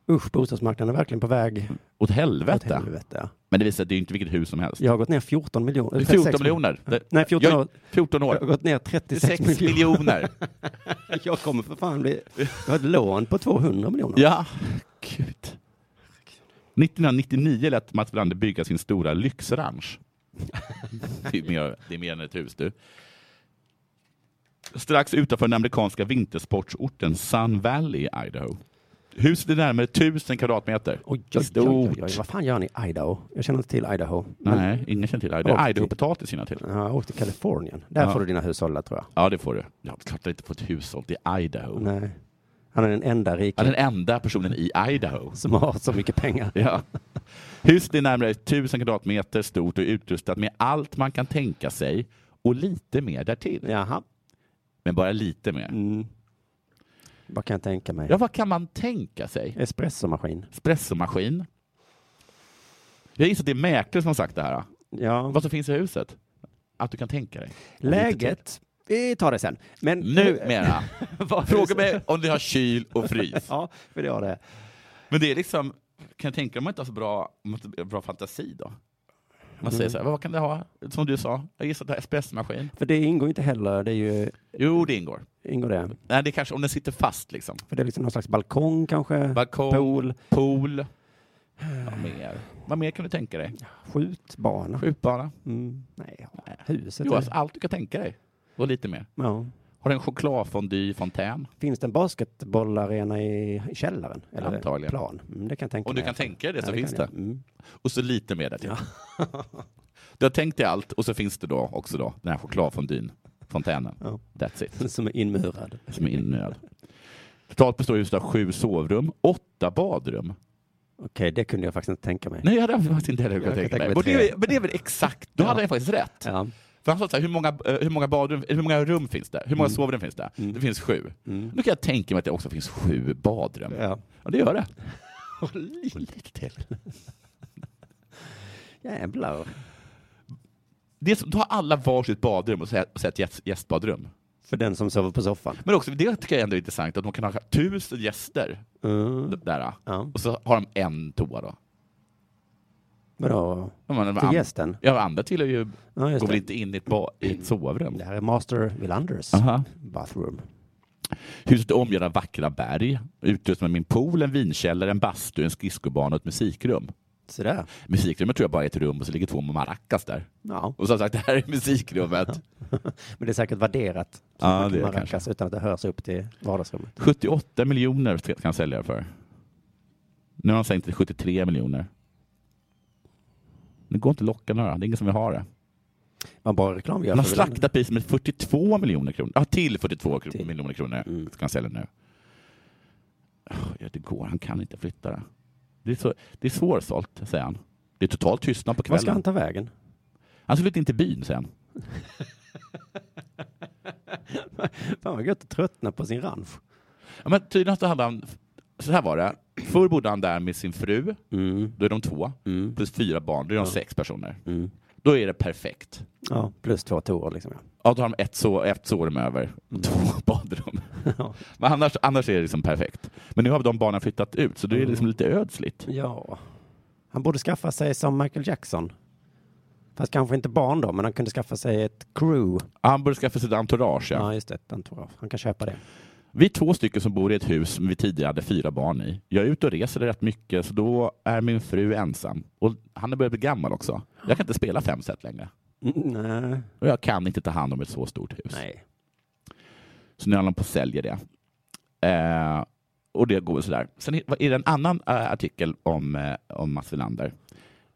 Usch, bostadsmarknaden är verkligen på väg Åt åt helvete. helvete. Men det visar sig att det är inte vilket hus som helst. Jag har gått ner 14 miljoner. Det är 36 14 miljoner. Det- Nej, 14 jag- år. 14 Jag har år. gått ner 36 6 miljoner. miljoner. Jag kommer för fan bli... Jag har ett lån på 200 miljoner. Ja, gud. 1999 lät Mats Wilander bygga sin stora lyxranch. Det är mer, det är mer än ett hus du. Strax utanför den amerikanska vintersportsorten Sun Valley i Idaho. Huset är närmare 1000 kvadratmeter. Oj, oj, oj, oj, oj, vad fan gör ni i Idaho? Jag känner inte till Idaho. Men, Nej, ingen känner till Åh, Idaho. Idaho-potatis känner jag till. Ja, jag åkte till Kalifornien. Där Ja. får du dina hushåll tror jag. Ja, det får du. Ja, klart att jag inte fått hushåll i Idaho. Nej. Han är den enda Ja, rika den enda personen i Idaho. som har så mycket pengar. Ja. Huset är närmare 1000 kvadratmeter stort och utrustat med allt man kan tänka sig och lite mer därtill. Jaha. Men bara lite mer. Mm. Vad kan jag tänka mig? Ja, vad kan man tänka sig? Espressomaskin. Espressomaskin. Jag gissar att det är mäklare som har sagt det Mm. här. Ja. Vad som finns i huset? Att du kan tänka dig. Läget? Vi tar det sen. Men Numera. Fråga mig om ni har kyl och frys. ja, för det har det. Men det är liksom, kan jag tänka mig om man inte har så bra, om man inte har bra fantasi då? Man säger Mm. så här, vad kan det ha? Som du sa, jag gissar att det är espressomaskin. För det ingår ju inte heller. Det är ju... Jo, det ingår. Ingår det? Nej, det är kanske om den sitter fast liksom. För det är liksom någon slags balkong kanske? Balkong, Pool? pool. Vad mer? Vad mer kan du tänka dig? Skjutbana? Skjutbana? Mm. Nej, huset. Jo, är- alltså, allt du kan tänka dig. Och lite mer. Ja. Har du en chokladfondyfontän? Finns det en basketbollarena i källaren? Eller Antagligen. plan? Mm, det kan jag tänka Om du mig. kan tänka dig det Ja, så finns kan det. jag. Mm. Och så lite mer där till. Du har tänkt dig allt och så finns det då också då den här chokladfondyn, fontänen. That's it. Som är inmurad. Som är inmurad. Totalt består just av sju sovrum, åtta badrum. Okej, det kunde jag faktiskt inte tänka mig. Nej, jag hade faktiskt inte heller kunnat Jag kan tänka tänka mig. Men mig det, tre. är- men det är väl exakt, då hade jag faktiskt rätt. Ja. För han sa så här, hur många, eh, hur många badrum, eh, hur många rum finns det? Hur många Mm. sovrum finns det? Mm. Det finns sju. Mm. Då kan jag tänka mig att det också finns sju badrum. Ja. Ja, det gör det. Och lite till. Jävlar. det är som, då har alla varsitt badrum och så här- och så här ett gäst- gästbadrum. För den som sover på soffan. Men också, det tycker jag ändå är intressant, att de kan ha tusen gäster Mm. d- där. Och så har de en toa då. Vadå? Ja, men de Till an- gästen? Ja, andra tillhör ju, Ja, just går väl det. Mm. inte in i ett, ba- i ett sovrum. Det här är Master Villanders Aha. bathroom. Huset är omgärdat av vackra berg, utrustat med min pool, en vinkällare, en bastu, en skridskobana och ett musikrum. Sådär. Musikrummet tror jag bara är ett rum och så ligger två maracas där. Ja. Och som sagt, det här är musikrummet. Men det är säkert värderat. Så Ja, man kan det är det maracas Utan att det hörs upp till vardagsrummet. 78 miljoner kan jag sälja det för. Nu har de sänkt till 73 miljoner. Det går inte att locka några, det är ingen som vill ha det. Man bara reklam gör De har för Villander. slaktat priset med 42 miljoner kronor. Ja, till 42 kro- miljoner kronor Mm. ska han sälja nu. Åh, Ja, det går, han kan inte flytta det. Det är, så, det är svårsålt, säger han. Det är total tystnad på kvällen. Var ska han ta vägen? Han skulle inte in till byn, säger han. Fan vad gött att tröttna på sin ranch. Ja, men tydligen så hade han, så här var det. Förr bodde han där med sin fru, Mm, då är de två, plus fyra barn, då är de sex personer. Då är det perfekt. Ja, plus två toor liksom. Ja. Ja, då har de ett, så, ett sovrum över Mm. och två badrum. Men annars, annars är det liksom perfekt. Men nu har de barnen flyttat ut, så då är det Mm. liksom lite ödsligt. ja. Han borde skaffa sig som Michael Jackson. Fast kanske inte barn då, men han kunde skaffa sig ett crew. Han borde skaffa sig ett entourage. Ja, Ja. just det. Ett entourage. Han kan köpa det. Vi är två stycken som bor i ett hus som vi tidigare hade fyra barn i. Jag är ute och reser rätt mycket, så då är min fru ensam. Och han har börjat bli gammal också. Jag kan inte spela fem set längre. Mm, nej. Och jag kan inte ta hand om ett så stort hus. Nej. Så nu håller han på att sälja det. Eh, och det går sådär. Sen är är det en annan eh, artikel om, eh, om Mats Wilander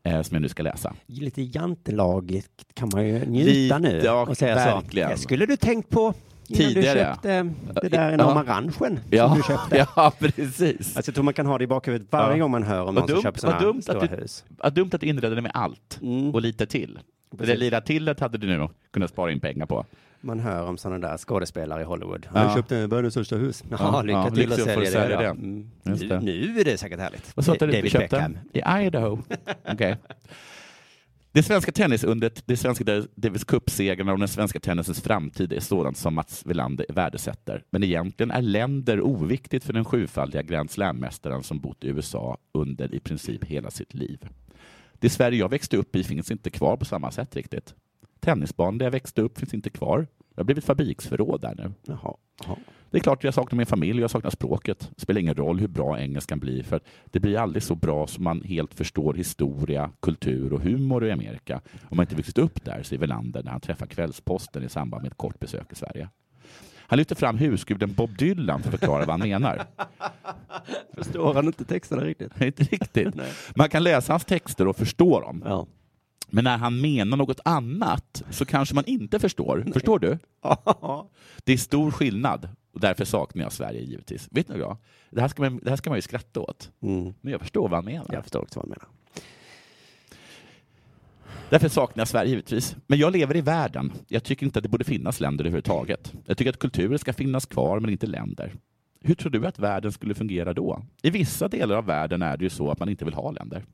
eh, som jag nu ska läsa. Lite jantelagigt kan man ju njuta nu. Lite, ja, Och säga verkligen. så. Det skulle du tänkt på innan Tidigare. du köpte det där enorma ranchen Ja, som du köpte. ja, precis. Alltså, jag tror man kan ha det i bakhuvudet varje Ja. gång man hör om någon Vad som dumt, köper vad dumt sådana stora att du, Mm. hus. Vad dumt att du inredde det med allt och lite till. Det där lilla tillet hade du nu kunnat spara in pengar på. Man hör om sådana där skådespelare i Hollywood. Ja. Jag köpte världens största hus. Ja, Ja, lycka ja, till att lycka till sälja att det. sälja ja. det. Mm. Just Nu, det. nu är det säkert härligt. Vad sa du att du David köpte? Beckham. I Idaho. Okej. Det svenska tennisundret, det svenska Davis Cup-segrarna och den svenska tennisens framtid är sådant som Mats Wilander värdesätter. Men egentligen är länder oviktigt för den sjufaldiga Grand Slam-mästaren som bott i USA under i princip hela sitt liv. Det Sverige jag växte upp i finns inte kvar på samma sätt riktigt. Tennisbanan där jag växte upp finns inte kvar. Jag har blivit fabriksförråd där nu. Jaha. Jaha. Det är klart jag saknar min familj och jag saknar språket. Det spelar ingen roll hur bra engelskan blir för att det blir aldrig så bra som man helt förstår historia, kultur och humor i Amerika om man inte vuxit upp där, säger Welander när han träffar Kvällsposten i samband med ett kort besök i Sverige. Han lyfter fram husguden Bob Dylan för att förklara vad han menar. Förstår han inte texterna riktigt? Inte riktigt. Man kan läsa hans texter och förstå dem. Men när han menar något annat så kanske man inte förstår. Förstår du? Det är stor skillnad och därför saknar jag Sverige givetvis. Vet ni vad? Det här ska man, det här ska man ju skratta åt. Men jag förstår vad han menar. Jag förstår också vad han menar. Därför saknar jag Sverige givetvis. Men jag lever i världen. Jag tycker inte att det borde finnas länder överhuvudtaget. Jag tycker att kulturer ska finnas kvar men inte länder. Hur tror du att världen skulle fungera då? I vissa delar av världen är det ju så att man inte vill ha länder.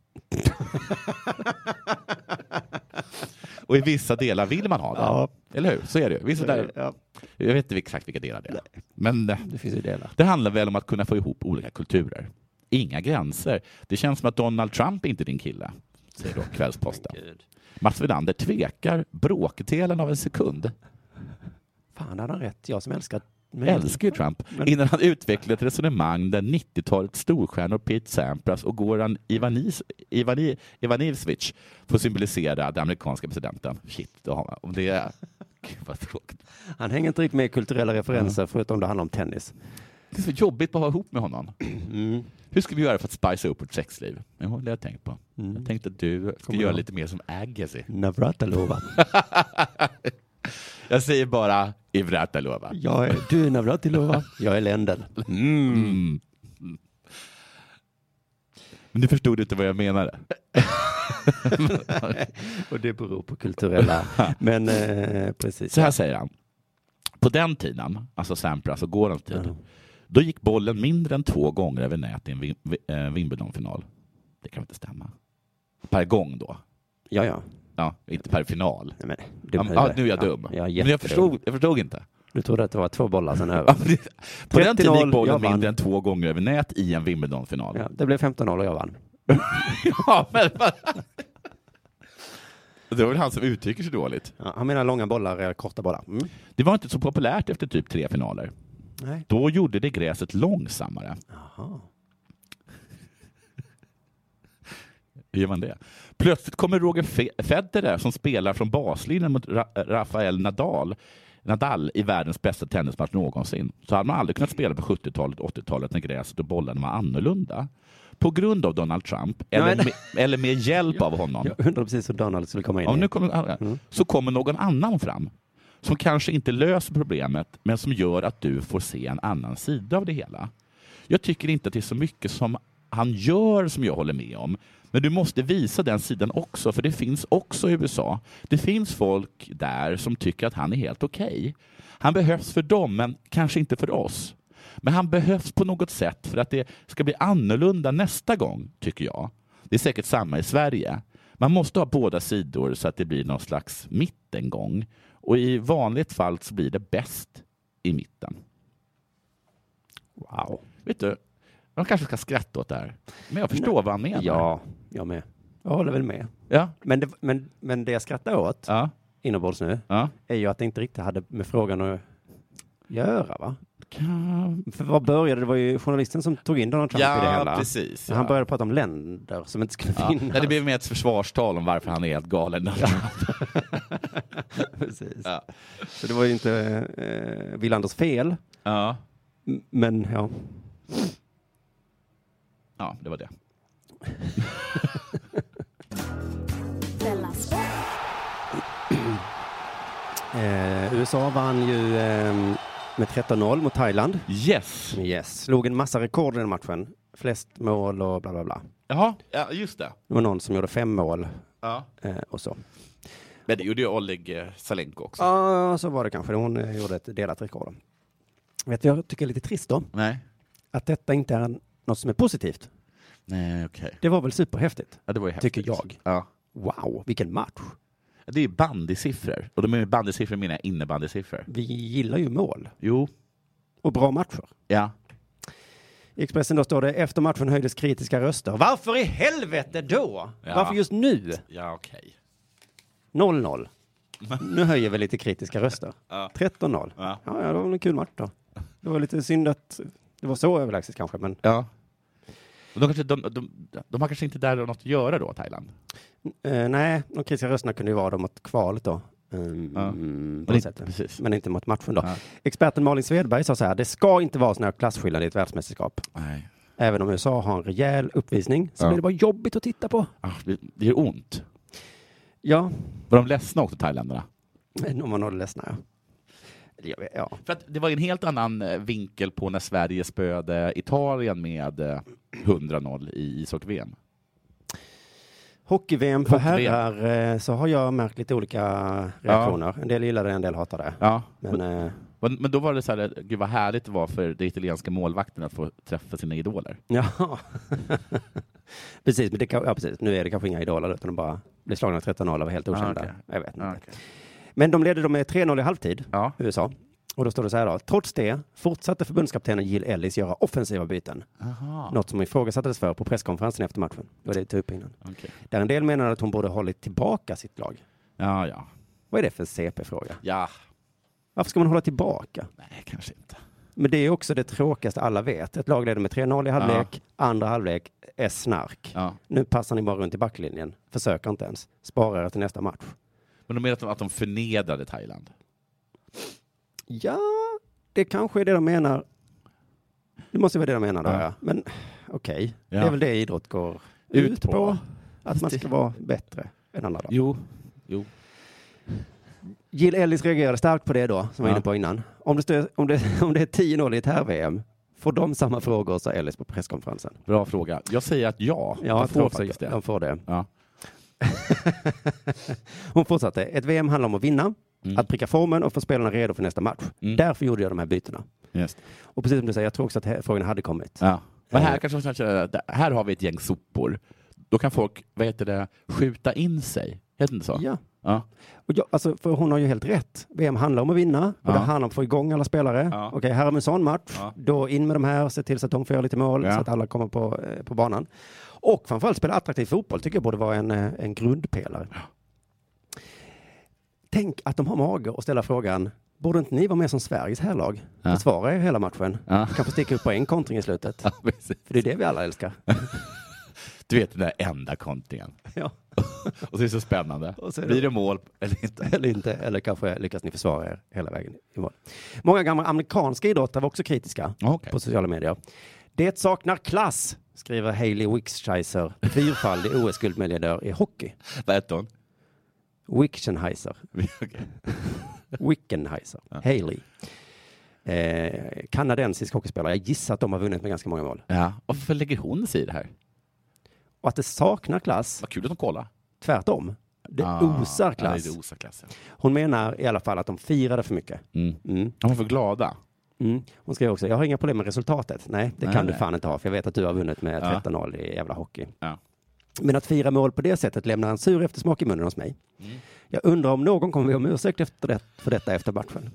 Och i vissa delar vill man ha det. Eller hur? Så är det ju. Vissa Så är det, delar... Jag vet inte exakt vilka delar det är. Men eh, det, finns ju delar. det handlar väl om att kunna få ihop olika kulturer. Inga gränser. Det känns som att Donald Trump är inte är din kille, säger då Kvällsposten. Mats Wilander tvekar bråkdelen av en sekund. Fan, hade han rätt? Jag som älskar Älskar ju Trump. Innan han utvecklar ett resonemang där 90-talets storstjärnor Pete Sampras och Goran Ivanis, Ivani, Ivanisevic får symbolisera den amerikanska presidenten. Shit, då har man, om det är... Gud vad tråkigt. Han hänger inte riktigt med i kulturella referenser förutom det handlar om tennis. Det är så jobbigt att ha ihop med honom. Mm. Hur ska vi göra för att spicea upp vårt sexliv? Jo, det har jag tänkt på. Jag tänkte att du ska Mm. Kommer göra jag. lite mer som Agassi. Navratilova. jag säger bara Ivratilova. Jag är, du är Navratilova, jag är Lendl. Mm. Men du förstod inte vad jag menade. Och det beror på kulturella... Men eh, precis. Så här säger han. På den tiden, alltså Sampras och Gorans tid, Mm. då gick bollen mindre än två gånger över nät i en Wim- Wi- eh, Wimbledon-final. Det kan väl inte stämma? Per gång då? Ja, ja. Ja, inte per final. Nej, men, ja, dum men- ja, huvud. nu är jag Ja, dum. jag är men jättedum. jag förstod, jag förstod inte. Du trodde att det var två bollar sen över. På den tiden 30-0, gick jag bollen vann. mindre än två gånger över nät i en Wimbledon-final. Ja, det blev 15-0 och jag vann. men... Det var väl han som uttrycker sig dåligt. Ja, han menar långa bollar, eller korta bollar. Mm. Det var inte så populärt efter typ tre finaler. Nej. Då gjorde det gräset långsammare. Hur gör man det? Plötsligt kommer Roger Fe- Federer som spelar från baslinjen mot Ra- Rafael Nadal, Nadal i världens bästa tennismatch någonsin. Så hade man aldrig kunnat spela på 70-talet 80-talet när gräset och bollarna var annorlunda. På grund av Donald Trump, eller, Nej. med, eller med hjälp av honom, Jag undrar precis hur Donald skulle komma in Ja, i. Mm. nu kommer, så kommer någon annan fram som kanske inte löser problemet men som gör att du får se en annan sida av det hela. Jag tycker inte att det är så mycket som han gör som jag håller med om. Men du måste visa den sidan också, för det finns också i USA. Det finns folk där som tycker att han är helt okej. Han behövs för dem, men kanske inte för oss. Men han behövs på något sätt för att det ska bli annorlunda nästa gång, tycker jag. Det är säkert samma i Sverige. Man måste ha båda sidor så att det blir någon slags mittengång. Och i vanligt fall så blir det bäst i mitten. Wow. Vet du, de kanske ska skratta åt det här. Men jag förstår vad han menar. Ja, jag med. Jag håller väl med. Ja. Men, det, men, men det jag skrattar åt inombords nu är ju att det inte riktigt hade med frågan att göra, va? För vad började det? var ju journalisten som tog in Donald Trump Ja, i det hela. precis, Han ja. började prata om länder som inte skulle Ja. finnas. Nej, det blev mer ett försvarstal om varför han är helt galen. Precis. Ja. Så det var ju inte eh, Willanders fel. Ja. M- Men ja. ja, det var det. Eh, USA vann ju ehm, med 13-0 mot Thailand. Yes. Yes. Slog en massa rekord i den matchen. Flest mål och bla bla bla. Jaha, ja, just det. Det var någon som gjorde fem mål Ja. eh, och så. Men det gjorde ju Oleg eh, Salenko också. Ja, så var det kanske. Hon eh, gjorde ett delat rekord. Vet du vad jag tycker är lite trist då? Nej. Att detta inte är en- något som är positivt. Nej, okej. Det var väl superhäftigt? Ja, det var ju häftigt. Tycker jag. Ja. Wow, vilken match. Det är ju bandysiffror. Och de är ju bandysiffror menar jag innebandysiffror. Vi gillar ju mål. Jo. Och bra matcher. Ja. I Expressen då står det efter matchen höjdes kritiska röster. Varför i helvete då? Ja. Varför just nu? Ja, okej. 0-0. Nu höjer vi lite kritiska röster. Ja. 13-0. Ja. Ja. Ja, det var väl en kul match då. Det var lite synd att det var så överlägset kanske, men Ja. De, kanske, de, de, de har kanske inte där något att göra då, Thailand? eh, nej, de kritiska rösterna kunde ju vara då mot kvalet då. Mm, på Men det inte- sättet. precis. Men inte mot matchen då. Ja. Experten Malin Svedberg sa så här, det ska inte vara sån här klasskillnad i ett världsmästerskap. Nej. Även om USA har en rejäl uppvisning så Ja. blir det bara jobbigt att titta på. Ah, det, det gör ont. Ja, Var de ledsna också, thailändarna? men om man har det ledsna ja. Eller jag vet- Ja, För att det var ju en helt annan eh, vinkel på när Sverige spöade Italien med eh, 100-0 i ishockey-VM. Hockey-VM för Hockey-VM. herrar eh, så har jag märkt lite olika reaktioner. En del gillar det, en del hatar det. Ja. Men eh, Men men då var det så här, gud vad härligt det var för de italienska målvakterna att få träffa sina idoler. Ja. precis, men det, kan- ja, precis, nu är det kanske inga idoler utan de bara blir slagna 13-0 av helt Ah, okända. okej. Jag vet inte. Men de ledde dem med 3-0 i halvtid, USA. Och då står det så här då. Trots det fortsatte förbundskaptenen Jill Ellis göra offensiva byten. Aha. Något som ifrågasattes för på presskonferensen efter matchen. Det var det jag tog upp innan. Okej. Där en del menade att hon borde ha hållit tillbaka sitt lag. Ja, ja. Vad är det för CP-fråga? Ja. Varför ska man hålla tillbaka? Nej, kanske inte. Men det är också det tråkigaste alla vet. Ett lag leder med 3-0 i halvlek, andra halvlek är snark. Nu passar ni bara runt i backlinjen, försöker inte ens, sparar er till nästa match. Men de menar att de, att de förnedrade Thailand. Ja, det kanske är det de menar. Det måste vara det de menar då, ja. Men okej, det Ja. är väl det idrott går Ut ut, på. på. Att man ska vara bättre än alla. Då. Jo. jo. Jill Ellis reagerade starkt på det då, som jag var Ja. inne på innan. Om det, stö- om det, om det är 10-0 i ett herr-VM, får de samma frågor, sa Ellis på presskonferensen. Bra fråga. Jag säger att ja. Ja, de jag tror får också faktiskt det. de får det. Ja. Hon fortsatte. Ett VM handlar om att vinna, Mm. att pricka formen och få spelarna redo för nästa match. Därför gjorde jag de här bytena. Just. Och precis som du säger, jag tror också att he- frågorna hade kommit. Ja. Men här Eh, kanske man känner att här har vi ett gäng sopor. Då kan folk, vad heter det, skjuta in sig. Heter det inte så? Ja. ja. Och jag, alltså, för hon har ju helt rätt. VM handlar om att vinna och Ja. det handlar om att få igång alla spelare. Okej, här har vi en sån match. Ja. Då in med de här, se till så att de får göra lite mål Ja. så att alla kommer på, eh, på banan. Och framförallt spela attraktiv fotboll tycker jag borde vara en, eh, en grundpelare. Tänk att de har mage att ställa frågan, borde inte ni vara med som Sveriges härlag? Ja. Försvara er hela matchen. Ja. Kanske sticka upp på en kontring i slutet. För det är det vi alla älskar. Du vet den där enda kontingen. Ja. Och så är det så spännande. Och så är det- Blir det mål eller inte? eller inte, eller kanske lyckas ni försvara er hela vägen i mål. Många gamla amerikanska idrottare var också kritiska på sociala medier. Det saknar klass, skriver Hailey Wickscheiser, fyrfaldig OS-guldmedaljör i hockey. Vad hette hon? Wickschenheiser. Wickenheiser. Hailey. Eh, kanadensisk hockeyspelare. Jag gissar att de har vunnit med ganska många mål. Ja. Varför lägger hon sig i det här? Och att det saknar klass. Vad kul att de kollar. Tvärtom. Det Ah, osar klass. Ja, det osar klass. ja. Hon menar i alla fall att de firade för mycket. Mm. De var för glada. Mm. Hon skrev också, jag har inga problem med resultatet. Nej, det Nej, kan du nej. fan inte ha, för jag vet att du har vunnit med Ja. 13-0 i jävla hockey. Ja. Men att fira mål på det sättet lämnar en sur eftersmak i munnen hos mig. Mm. Jag undrar om någon kommer be om ursäkt efter det, för detta efter matchen.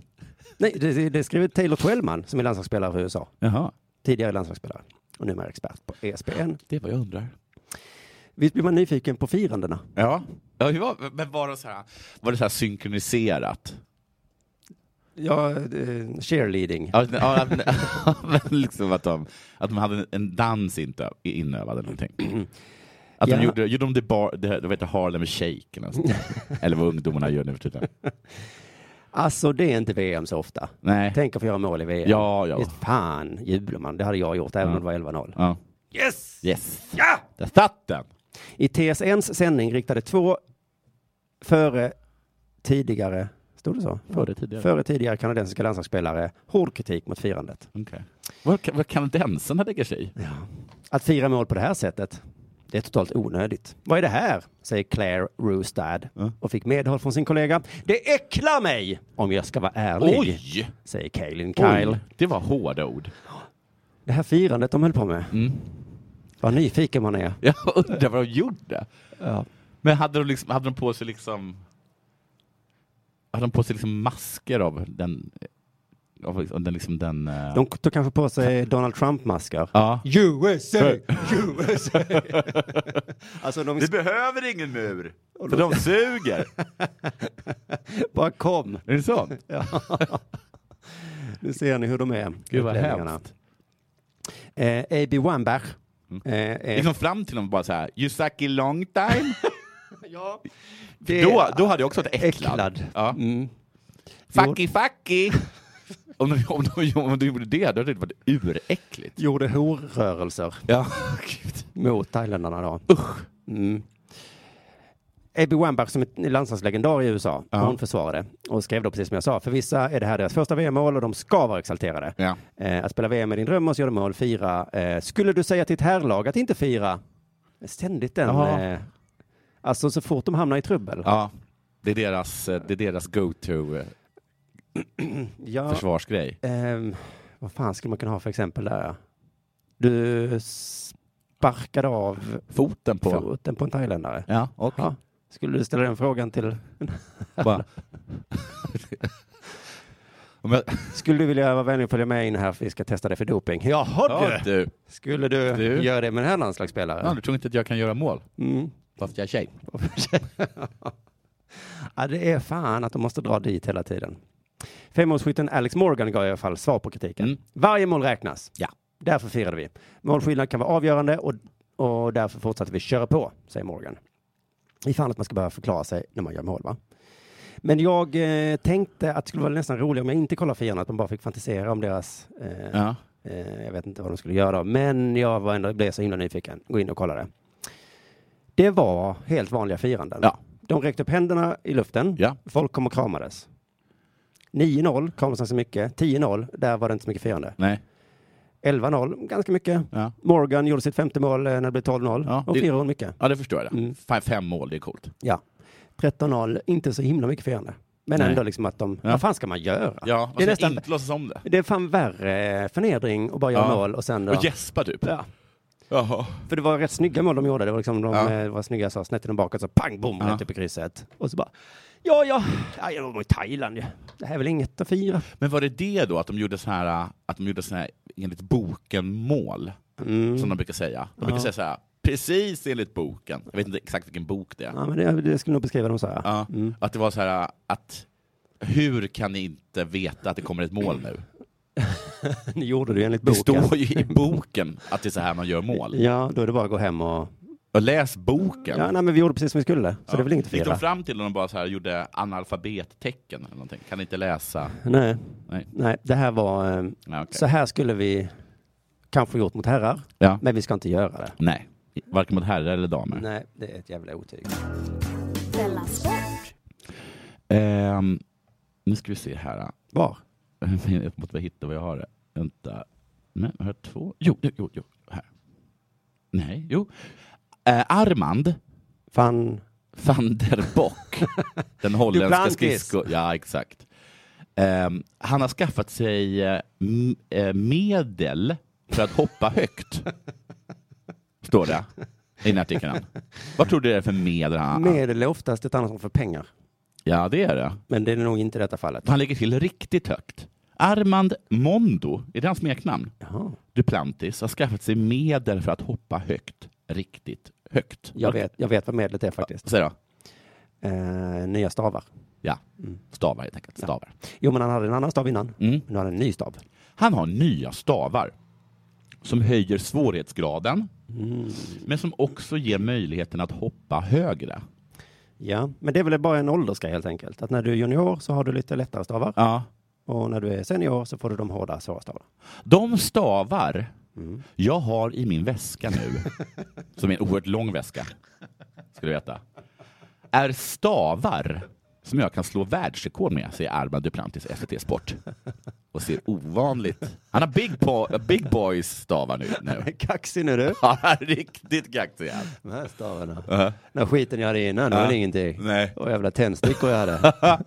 Nej, det, det- det skriver Taylor Twellman som är landslagsspelare för USA. Tidigare landslagsspelare och numera expert på E ESPN. Det är vad jag undrar. Visst blir man nyfiken på firandena? Ja. ja hur var, men var det så här, var det så här synkroniserat? Ja, eh, cheerleading. Ja, men- ja, men- men liksom att, de, att de hade en dans inte inövad eller någonting. Att Ja. de gjorde, gjorde de det, bar, det, det heter Harlem Shake eller, något sånt där. eller vad ungdomarna gör nu för tiden. Alltså det är inte VM så ofta. Nej. Tänk att få göra mål i VM. Ja, Mm. ja. Visst fan jublar man. Det hade jag gjort även om det var 11-0. Ja. Yes! Yes! Ja! Där satt den! I TSNs sändning riktade två före tidigare, stod det så? Före tidigare. Före tidigare kanadensiska landslagsspelare hård kritik mot firandet. Okay. Var, kan- var kanadensarna lägger sig i? Att fira mål på det här sättet, det är totalt onödigt. Vad är det här? Säger Claire Roostad och fick medhåll från sin kollega. Det äcklar mig! Om jag ska vara ärlig. Oj! Säger Kaelin Kyle. Oj, det var hårda ord. Det här firandet de höll på med. Mm. Vad nyfiken man är. Jag undrar vad de gjorde. Ja. Men hade de, liksom, hade de på sig liksom hade de på sig liksom masker av den, av liksom- den, liksom den eh, De tog kanske på sig Donald Trump-masker. Ja. USA! USA! alltså de... Vi behöver ingen mur, Och för de- de suger. Bara kom. Är det så? ja. Nu ser ni hur de är. Gud, vad utlänningarna. hemskt. Eh, A.B. Wambach. Eh, eh, Liksom fram till dem bara så här, you suck a long time. ja, För då, då hade jag också varit äcklad. Äcklad. Ja. Mm. Fucky fucky! om, de, om, de, om de gjorde det, då hade det varit uräckligt. Gjorde horrörelser. Ja, gud. mot thailändarna då. Usch. Mm. Abby Wambach som är landslagslegendar i USA, hon försvarade och skrev då precis som jag sa, för vissa är det här deras första VM-mål och de ska vara exalterade. Ja. Eh, att spela VM är din dröm och så gör du mål, fira. Eh, skulle du säga till ett herrlag att inte fira? Ständigt den, Ja. eh, alltså så fort de hamnar i trubbel. Ja, det är deras, eh, det är deras go-to eh, ja, Försvarsgrej. ehm, vad fan skulle man kunna ha för exempel där? ja? Du sparkade av foten på, foten på en thailändare. Ja, och? Skulle du ställa den frågan till... Bara. Skulle du vilja vara vänlig och följa med in här för vi ska testa dig för doping? Jaha Ja, du! du. Skulle du, Du. göra det med den här landslagsspelaren? Ja, du tror inte att jag kan göra mål? Mm. Bara för att jag är tjej? Ja, det är fan att de måste dra dit hela tiden. Femårsskytten Alex Morgan gav i alla fall svar på kritiken. Varje mål räknas. Mm. Ja. Därför firade vi. Målskillnad kan vara avgörande och, och därför fortsatte vi köra på, säger Morgan. Ifall att man ska behöva förklara sig när man gör mål, va? Men jag eh, tänkte att det skulle vara nästan roligare om jag inte kollar fienden, att man bara fick fantisera om deras... Eh, Ja. eh, jag vet inte vad de skulle göra, men jag var ändå, blev så himla nyfiken. Gå in och kolla det. Det var helt vanliga firanden. De räckte upp händerna i luften. Folk kom och kramades. 9-0 kramades inte så mycket. 10-0, där var det inte så mycket firande. Nej. 11-0, ganska mycket. Ja. Morgan gjorde sitt femte mål eh, när det blev 12-0. och det- firade hon mycket. Ja, det förstår jag. Mm. Fem mål, det är coolt. Ja. 13-0, inte så himla mycket firande. Men Nej. ändå liksom att de, Ja. vad fan ska man göra? Ja, alltså man det, är ska nästan, inte låtsas om det. det är fan värre eh, förnedring att bara göra Ja. mål och sen... Och gäspa typ. Ja. Jaha. För det var rätt snygga mål de gjorde. Det var liksom de Ja. eh, det var snygga så snett i den bakåt så pang bom Ja. rätt upp typ i krysset. Och så bara ja ja, ja jag var i Thailand. ju. Det här är väl inget att fira. Men var det det då, att de gjorde så här, att de gjorde så här enligt boken-mål? Mm. Som de brukar säga. De brukar Ja. säga så här, precis enligt boken. Jag vet inte exakt vilken bok det är. Ja Mm. men det, det skulle nog beskriva dem så här. Ja, Att det var så här att hur kan ni inte veta att det kommer ett mål nu? Ni gjorde det ju enligt Det boken. står ju i boken att det är så här man gör mål. Ja, då är det bara att gå hem och... Och läs boken. Ja, nej men vi gjorde precis som vi skulle. Så det är väl inget att Gick fira. de fram till och de bara så här gjorde analfabettecken eller någonting? Kan inte läsa? Nej. Nej. nej, det här var... eh, Ja, okej. Så här skulle vi kanske gjort mot herrar. Ja. Men vi ska inte göra det. Nej. Varken mot herrar eller damer. Nej, det är ett jävla otyg. Ehm, nu ska vi se här. Var? Jag måste hitta vad jag har. det. Vänta. Nej, jag har två. Jo, jo, jo. jo. Här. Nej, jo. Eh, Armand. Van... Van der Bock. Den holländska Duplantis. skridsko... Ja, exakt. Ehm, han har skaffat sig eh, m- eh, medel för att hoppa högt. Står det i den här artikeln. Vad tror du det är för medel han Medel är oftast ett annat ord för pengar. Ja, det är det. Men det är nog inte i detta fallet. Han lägger till riktigt högt. Armand Mondo, är det hans smeknamn? Duplantis har skaffat sig medel för att hoppa högt. Riktigt högt. Jag vet, jag vet vad medlet är faktiskt. Säg då. Eh, nya stavar. Ja, Mm. stavar helt enkelt. Stavar. Jo, men han hade en annan stav innan. Mm. Nu har han en ny stav. Han har nya stavar som höjer svårighetsgraden, Mm. men som också ger möjligheten att hoppa högre. Ja, men det är väl bara en åldersgrej helt enkelt. Att när du är junior så har du lite lättare stavar. Ja. Och när du är senior så får du de hårda, svåra stavarna. De stavar jag har i min väska nu, som är en oerhört lång väska, ska du veta, är stavar som jag kan slå världsrekord med, säger Armand Duplantis i SVT Sport. Och ser ovanligt... Han har big, po- big boys stavar nu. nu. Kaxig nu du. Ja, riktigt kaxig han. De här stavarna. Uh-huh. Den här skiten jag hade innan, det Ja. var ingenting. Nej. Och jävla tändstickor jag hade.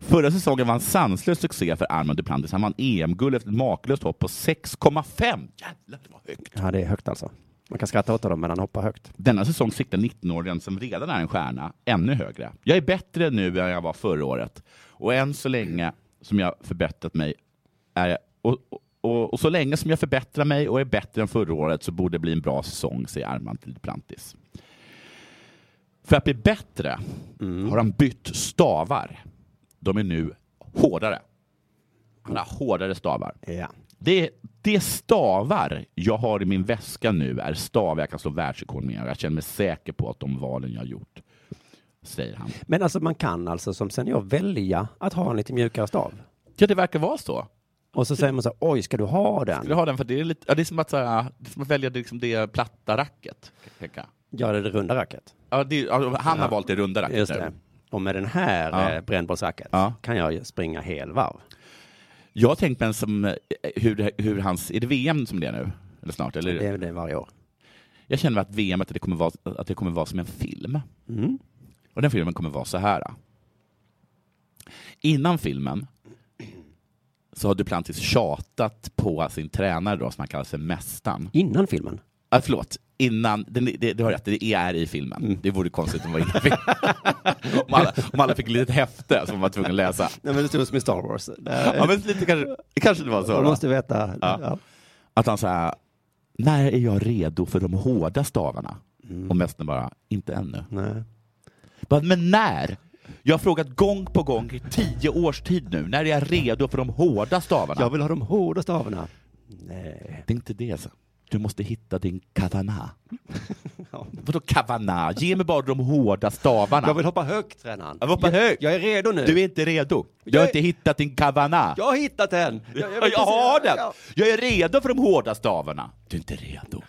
Förra säsongen var en sanslös succé för Armand Duplantis. Han vann EM-guld efter ett makalöst hopp på 6,5. Jävlar, det var högt. ja, det är högt alltså. Man kan skratta åt dem, men han hoppar högt. Denna säsong siktar 19-åringen, som redan är en stjärna, ännu högre. Jag är bättre nu än jag var förra året. Och än så länge som jag förbättrat mig är jag, och, och, och så länge som jag förbättrar mig och är bättre än förra året så borde det bli en bra säsong, säger Armand till Duplantis. För att bli bättre har han bytt stavar. De är nu hårdare. Han har hårdare stavar. Ja. Det, det stavar jag har i min väska nu är stavar jag kan slå världsrekord med. Jag känner mig säker på att de valen jag gjort, säger han. Men alltså man kan alltså som senior välja att ha en lite mjukare stav. Ja, det verkar vara så. Och så säger man så här, oj, ska du ha den? Vill du ha den? För det, är lite, ja, det, är som att, så här, det är som att välja det, liksom det platta racket. kan jag tänka. Ja, det är det runda racket. Ja, det, ja, han har Ja. valt det runda racket Just nu. det. Och med den här Ja. ja. brännbollsracket Ja. kan jag ju springa helvarv. Jag har tänkt på en som, eh, hur, hur hans, är det VM som det är nu? Eller snart? Eller? Det är det varje år. Jag känner att VM, att det kommer vara, att det kommer vara som en film. Mm. Och den filmen kommer vara så här. Innan filmen så har Duplantis tjatat på sin tränare då, som han kallar sig Mästaren. Innan filmen? Ah, förlåt, innan, det, det, du har rätt, det är i filmen. Mm. Det vore konstigt om det var innan filmen. om, alla, om alla fick ett litet häfte som man var tvungen att läsa. Nej, men det stod som i Star Wars. ja, men lite kanske, kanske det var så. Man då. måste veta. Ja. Att han säger när är jag redo för de hårda stavarna? Mm. Och mästaren bara, inte ännu. Bara, men när? Jag har frågat gång på gång i tio års tid nu, när är jag redo för de hårda stavarna? Jag vill ha de hårda stavarna. Det är inte det. alltså. Så. Du måste hitta din kavana. Vadå kavana? Ge mig bara de hårda stavarna. Jag vill hoppa högt, tränaren. Jag vill hoppa högt. Jag är redo nu. Du är inte redo. Du har inte hittat din kavana. Jag har hittat den. Jag, vet har precis- den! Jag är redo för de hårda stavarna. Du är inte redo.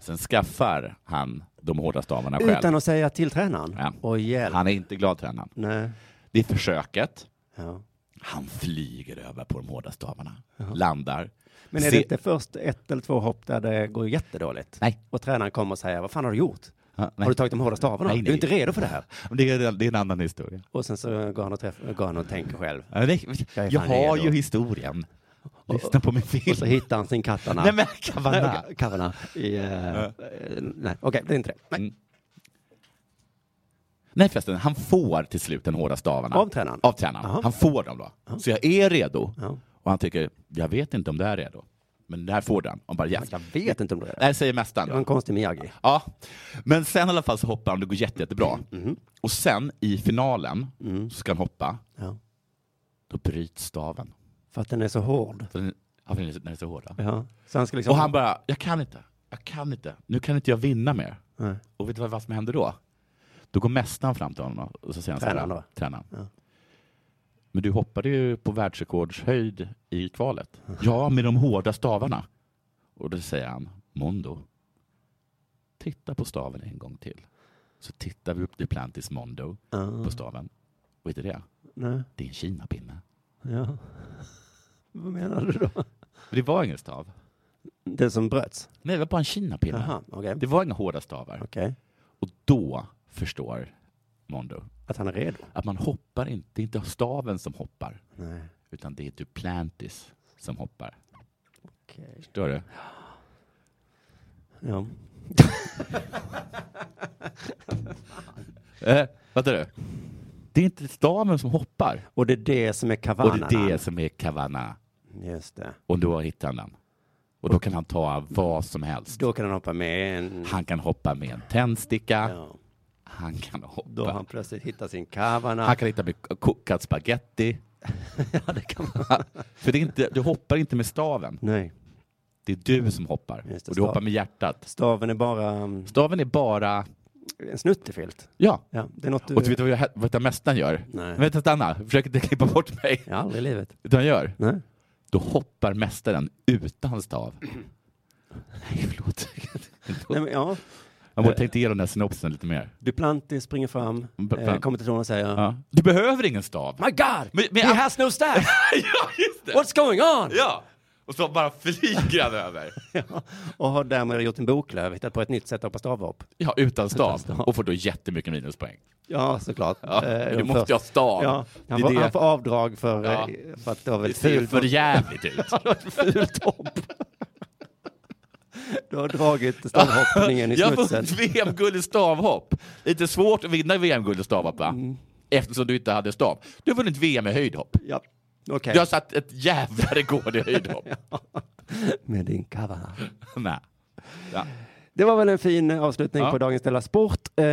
Sen skaffar han de hårda stavarna själv. Utan att säga till tränaren? Ja. hjälp. Han är inte glad, tränaren. Nej. Det är försöket. Ja. Han flyger över på de hårda stavarna, landar. Men är Se- det inte först ett eller två hopp där det går jättedåligt? Nej. Och tränaren kommer och säger, vad fan har du gjort? Ja, nej. Har du tagit de hårda stavarna? Nej, nej. Du är inte redo för det här. Men Det är, det är en annan historia. Och sen så går han och, träff, går han och tänker själv. Ja, det- är Jag fan har redo. ju historien. Lyssna på min film. Och så hittar han sin kattana. Nej men Kavana. Nej, Kavana. I, eh, eh, Nej, okej, det är inte det. Nej. Mm. Nej förresten, han får till slut den hårda stavarna. Av tränaren? Av tränaren. Han får dem då. Så jag är redo. Och han tycker, jag vet inte om det här är redo. Men det här får den. Och bara yes. Jag vet inte om det är Det här säger mästaren. Det då. var en konstig Miyagi. Ja, men sen i alla fall så hoppar han och det går jätte, jättebra. Och sen i finalen så ska han hoppa. Ja. Då bryts staven. För att den är så hård. För den, ja, för den är så- den är så hård. ja. Ja. Så han ska liksom... Och han bara, jag kan inte. Jag kan inte. Nu kan inte jag vinna mer. Nej. Och vet du vad, vad som händer då? Då går mästaren fram till honom och så säger han Tränaren så här, då? tränaren. Ja. Men du hoppade ju på världsrekordshöjd i kvalet. Ja, med de hårda stavarna. Och då säger han, Mondo, titta på staven en gång till. Så tittar vi upp Duplantis Mondo Ja. på staven. Och vet du det? Nej. Det är en kinapinne. Ja. Vad menar du då? Men det var ingen stav. Den som bröts? Nej, det var bara en kinapinne. Jaha, okej. Det var inga hårda stavar. Okej. Och då förstår Mondo Att han är redo? att man hoppar inte, det är inte staven som hoppar, Nej. utan det är Duplantis som hoppar. Okej. Förstår du? Ja. Eh, fattar du? Det är inte staven som hoppar. Och det är det som är Och Kavanarna. det är det som är Kavana. Just det. Och då hittar han den. Och då kan han ta vad som helst. Då kan han hoppa med en... Han kan hoppa med en tändsticka. Ja. Han kan Då har han hoppa. plötsligt hittat sin Kavana. Han kan hitta med kokad spaghetti. ja, det kan man. För det är inte, du hoppar inte med staven. Nej. Det är du som hoppar. Just det, Och du stav- hoppar med hjärtat. Staven är bara mm, Staven är bara... en snuttefilt. Ja, Ja, det är något du... Och du vet vad, jag, vad jag mästaren gör? Nej. Vänta, stanna. Försök inte klippa bort mig. Ja, aldrig i livet. Utan han gör. Nej. Då hoppar mästaren utan stav. Nej, förlåt. Nej, men ja. Jag måste tänkt igenom den här synopsen lite mer. Duplantis springer fram, B- eh, fram. kommer till tronen och säger Ja. Du behöver ingen stav. My God! Men- men- He has no staff! ja, just det! What's going on? Ja! Och så bara flyger han över. Och har därmed gjort en boklöv, hittat på ett nytt sätt att hoppa stavhopp. Ja, utan stav. stav. Och får då jättemycket minuspoäng. Ja, såklart. Ja, Eh, du de måste första. ha stav. Ja, han, Det är får, det. han får avdrag för, Ja. eh, för att det var Det väldigt ser fult. för jävligt ut. fult hopp. Du har dragit stavhoppningen i Jag har smutsen. vunnit VM-guld i stavhopp. Lite svårt att vinna VM-guld i stavhopp, va? Eftersom du inte hade stav. Du har vunnit VM i höjdhopp. Ja. Mm. Okej. Du har satt ett jävla rekord i höjdhopp. Med din kava. Nej. Ja. Det var väl en fin avslutning Ja. på dagens Della Sport. Eh,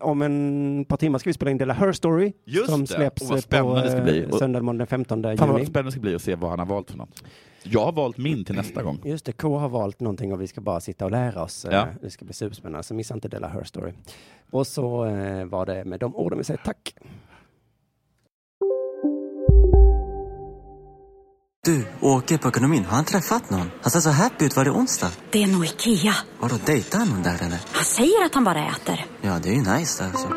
om en par timmar ska vi spela in Della Her Story. Just som det. släpps Och vad eh, spännande på det ska eh, bli. Och- söndag morgon den 15 Fan vad juni. spännande det ska bli att se vad han har valt för något. Jag har valt min till nästa gång. Just det, K har valt någonting och vi ska bara sitta och lära oss. Eh, Ja. Det ska bli superspännande, så missa inte Della Her Story. Och så eh, var det med de orden vi säger tack. Du, åker på ekonomin. Har han träffat någon? Han ser så happy ut. Var det onsdag? Det är nog Ikea. Vadå, dejtar han någon där eller? Han säger att han bara äter. Ja, det är ju nice alltså.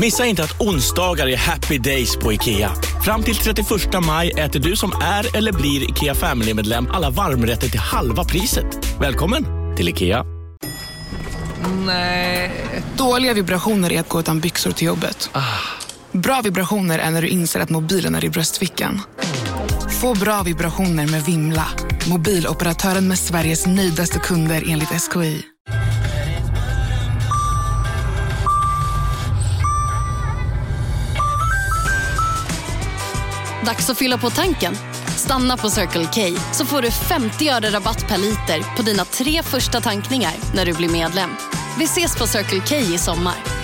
Missa inte att onsdagar är happy days på IKEA. Fram till 31 maj äter du som är eller blir IKEA Family-medlem alla varmrätter till halva priset. Välkommen till IKEA. Nej. Dåliga vibrationer är att gå utan byxor Ah. till jobbet. Bra vibrationer är när du inser att mobilen är i bröstfickan. Få bra vibrationer med Vimla. Mobiloperatören med Sveriges nöjdaste kunder enligt SKI. Dags att fylla på tanken. Stanna på Circle K så får du 50 öre rabatt per liter på dina tre första tankningar när du blir medlem. Vi ses på Circle K i sommar.